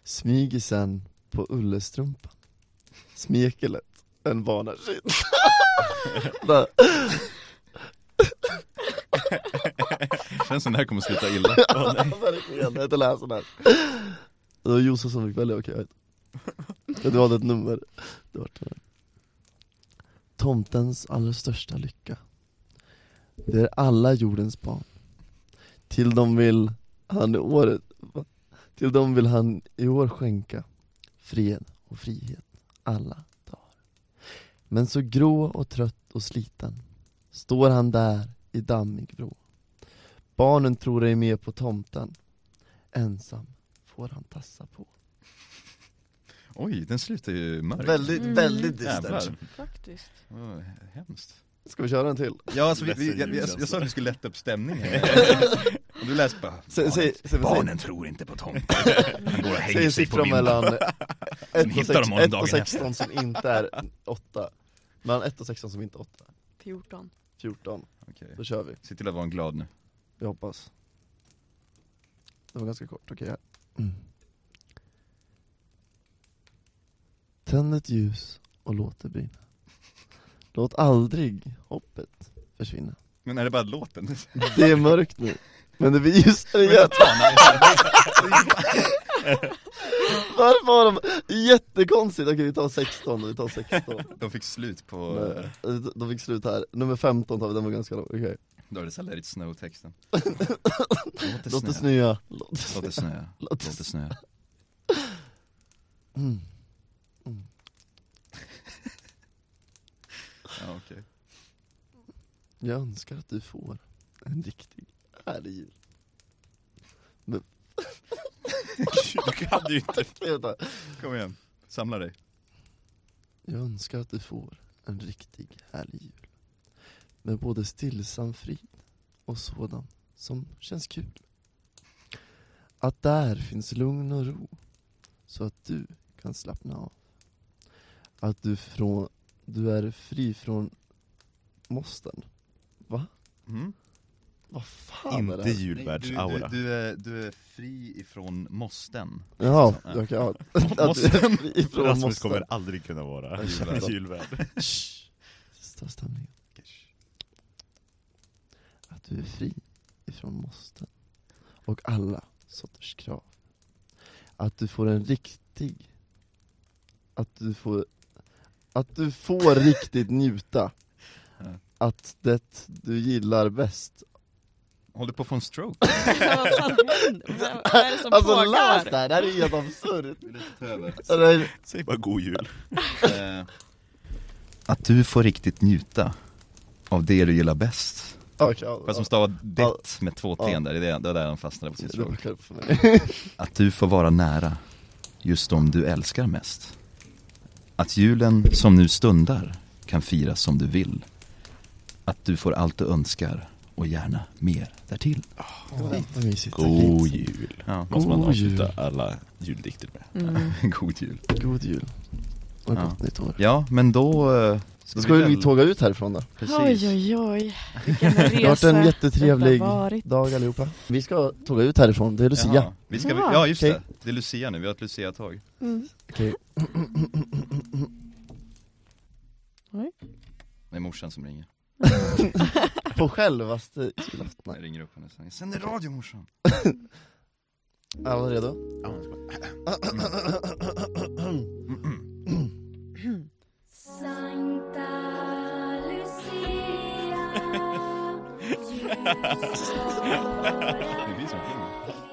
Smyger sen på ullestrumpan. Smeklet en vana shit Bara, Känns som det här kommer sluta illa Alltså, Verkligen, jag heter läsa den här Det var Josef som fick välja, okej jag vet Du hade ett nummer det var det. Tomtens allra största lycka Det är alla jordens barn Till dem vill han i året va? Till dem vill han i år skänka Fred och frihet alla dagar Men så grå och trött och sliten Står han där i dammig vrå Barnen tror ej mer på tomten Ensam får han tassa på Oj, den slutar ju mörkt Väldigt, Mm. väldigt dystert Jävlar, Faktiskt. Vad hemskt Ska vi köra en till? Ja alltså, vi, vi, Ledsen jag, jag, ljud, jag sa att vi skulle lätta upp stämningen Och du läste bara Säg- säg- säg- säg- tror inte på tomten Han går och Säg en siffra mellan 1 och, hittar sex, dem om ett dagen och 16 som inte är 8 Mellan 1 och 16 som inte är 8 14. 14, Okej. då kör vi, Se till att vara glad nu vi hoppas Det var ganska kort, okej här. Mm. Tänd ett ljus och låt det brinna Låt aldrig hoppet försvinna Men är det bara låten? Det är mörkt nu, men det blir ljusare igen Varför har de, jättekonstigt, okej vi tar 16 då, vi tar 16 De fick slut på, Nej, De fick slut här, nummer 15 tar vi, den var ganska lång, okej då är det såhär Let it snow texten Låt det snöa, låt det Låt snöa det snöa, Låt låt det det snöa mm. Mm. Ja okej Jag önskar att du får en riktig härlig jul Du kan ju inte Nej, vänta. Kom igen, samla dig Jag önskar att du får en riktig härlig jul Med både stillsam frid och sådan som känns kul Att där finns lugn och ro så att du kan slappna av Att du, från, du är fri från måsten Va? Mm. Vad fan är det här? Inte du, du, julvärldsaura du, är, du är fri ifrån måsten Ja, Ja. jag kan ja. Att du är fri från Rasmus måsten. kommer aldrig kunna vara Julvärd. julvärd Shh. Sista stämningen. Att du är fri ifrån måsten och alla sorters krav. Att du får en riktig... Att du får... Att du får riktigt njuta. Ja. Att det du gillar bäst. Håller på att få en stroke Vad fan händer? Vad vad är det som Alltså pågår? läs det här, det här är helt absurt. Över. Det är- Säg bara god jul Eh, Att du får riktigt njuta av det du gillar bäst Okej, ja, Fast de stavar det med två Ja. t där, det är det var där de fastnade på sin det var stroke klart för mig. Att du får vara nära just de du älskar mest Att julen som nu stundar kan firas som du vill Att du får allt du önskar och gärna mer därtill Åh, vad mysigt. God jul Ja, Måste man God jul. avsluta alla juldikter med Mm. god jul God jul. Och ett Ja. gott nytt år. Ja, men då... eh, Ska, vi tåga ut härifrån då? Precis. Oj oj oj, vilken resa Det har varit en jättetrevlig detta varit. dag allihopa Vi ska tåga ut härifrån, det är Lucia Jaha, vi ska, Ja. ja just Okej. det, det är Lucia nu, vi har ett Lucia-tag Mm. Okej. Det är morsan som ringer, På självaste julafton jag ringer upp henne sen, jag sänder radio morsan Alla redo? Ja, jag ska- Sankta Lucia, ljus Det är vi som ringer.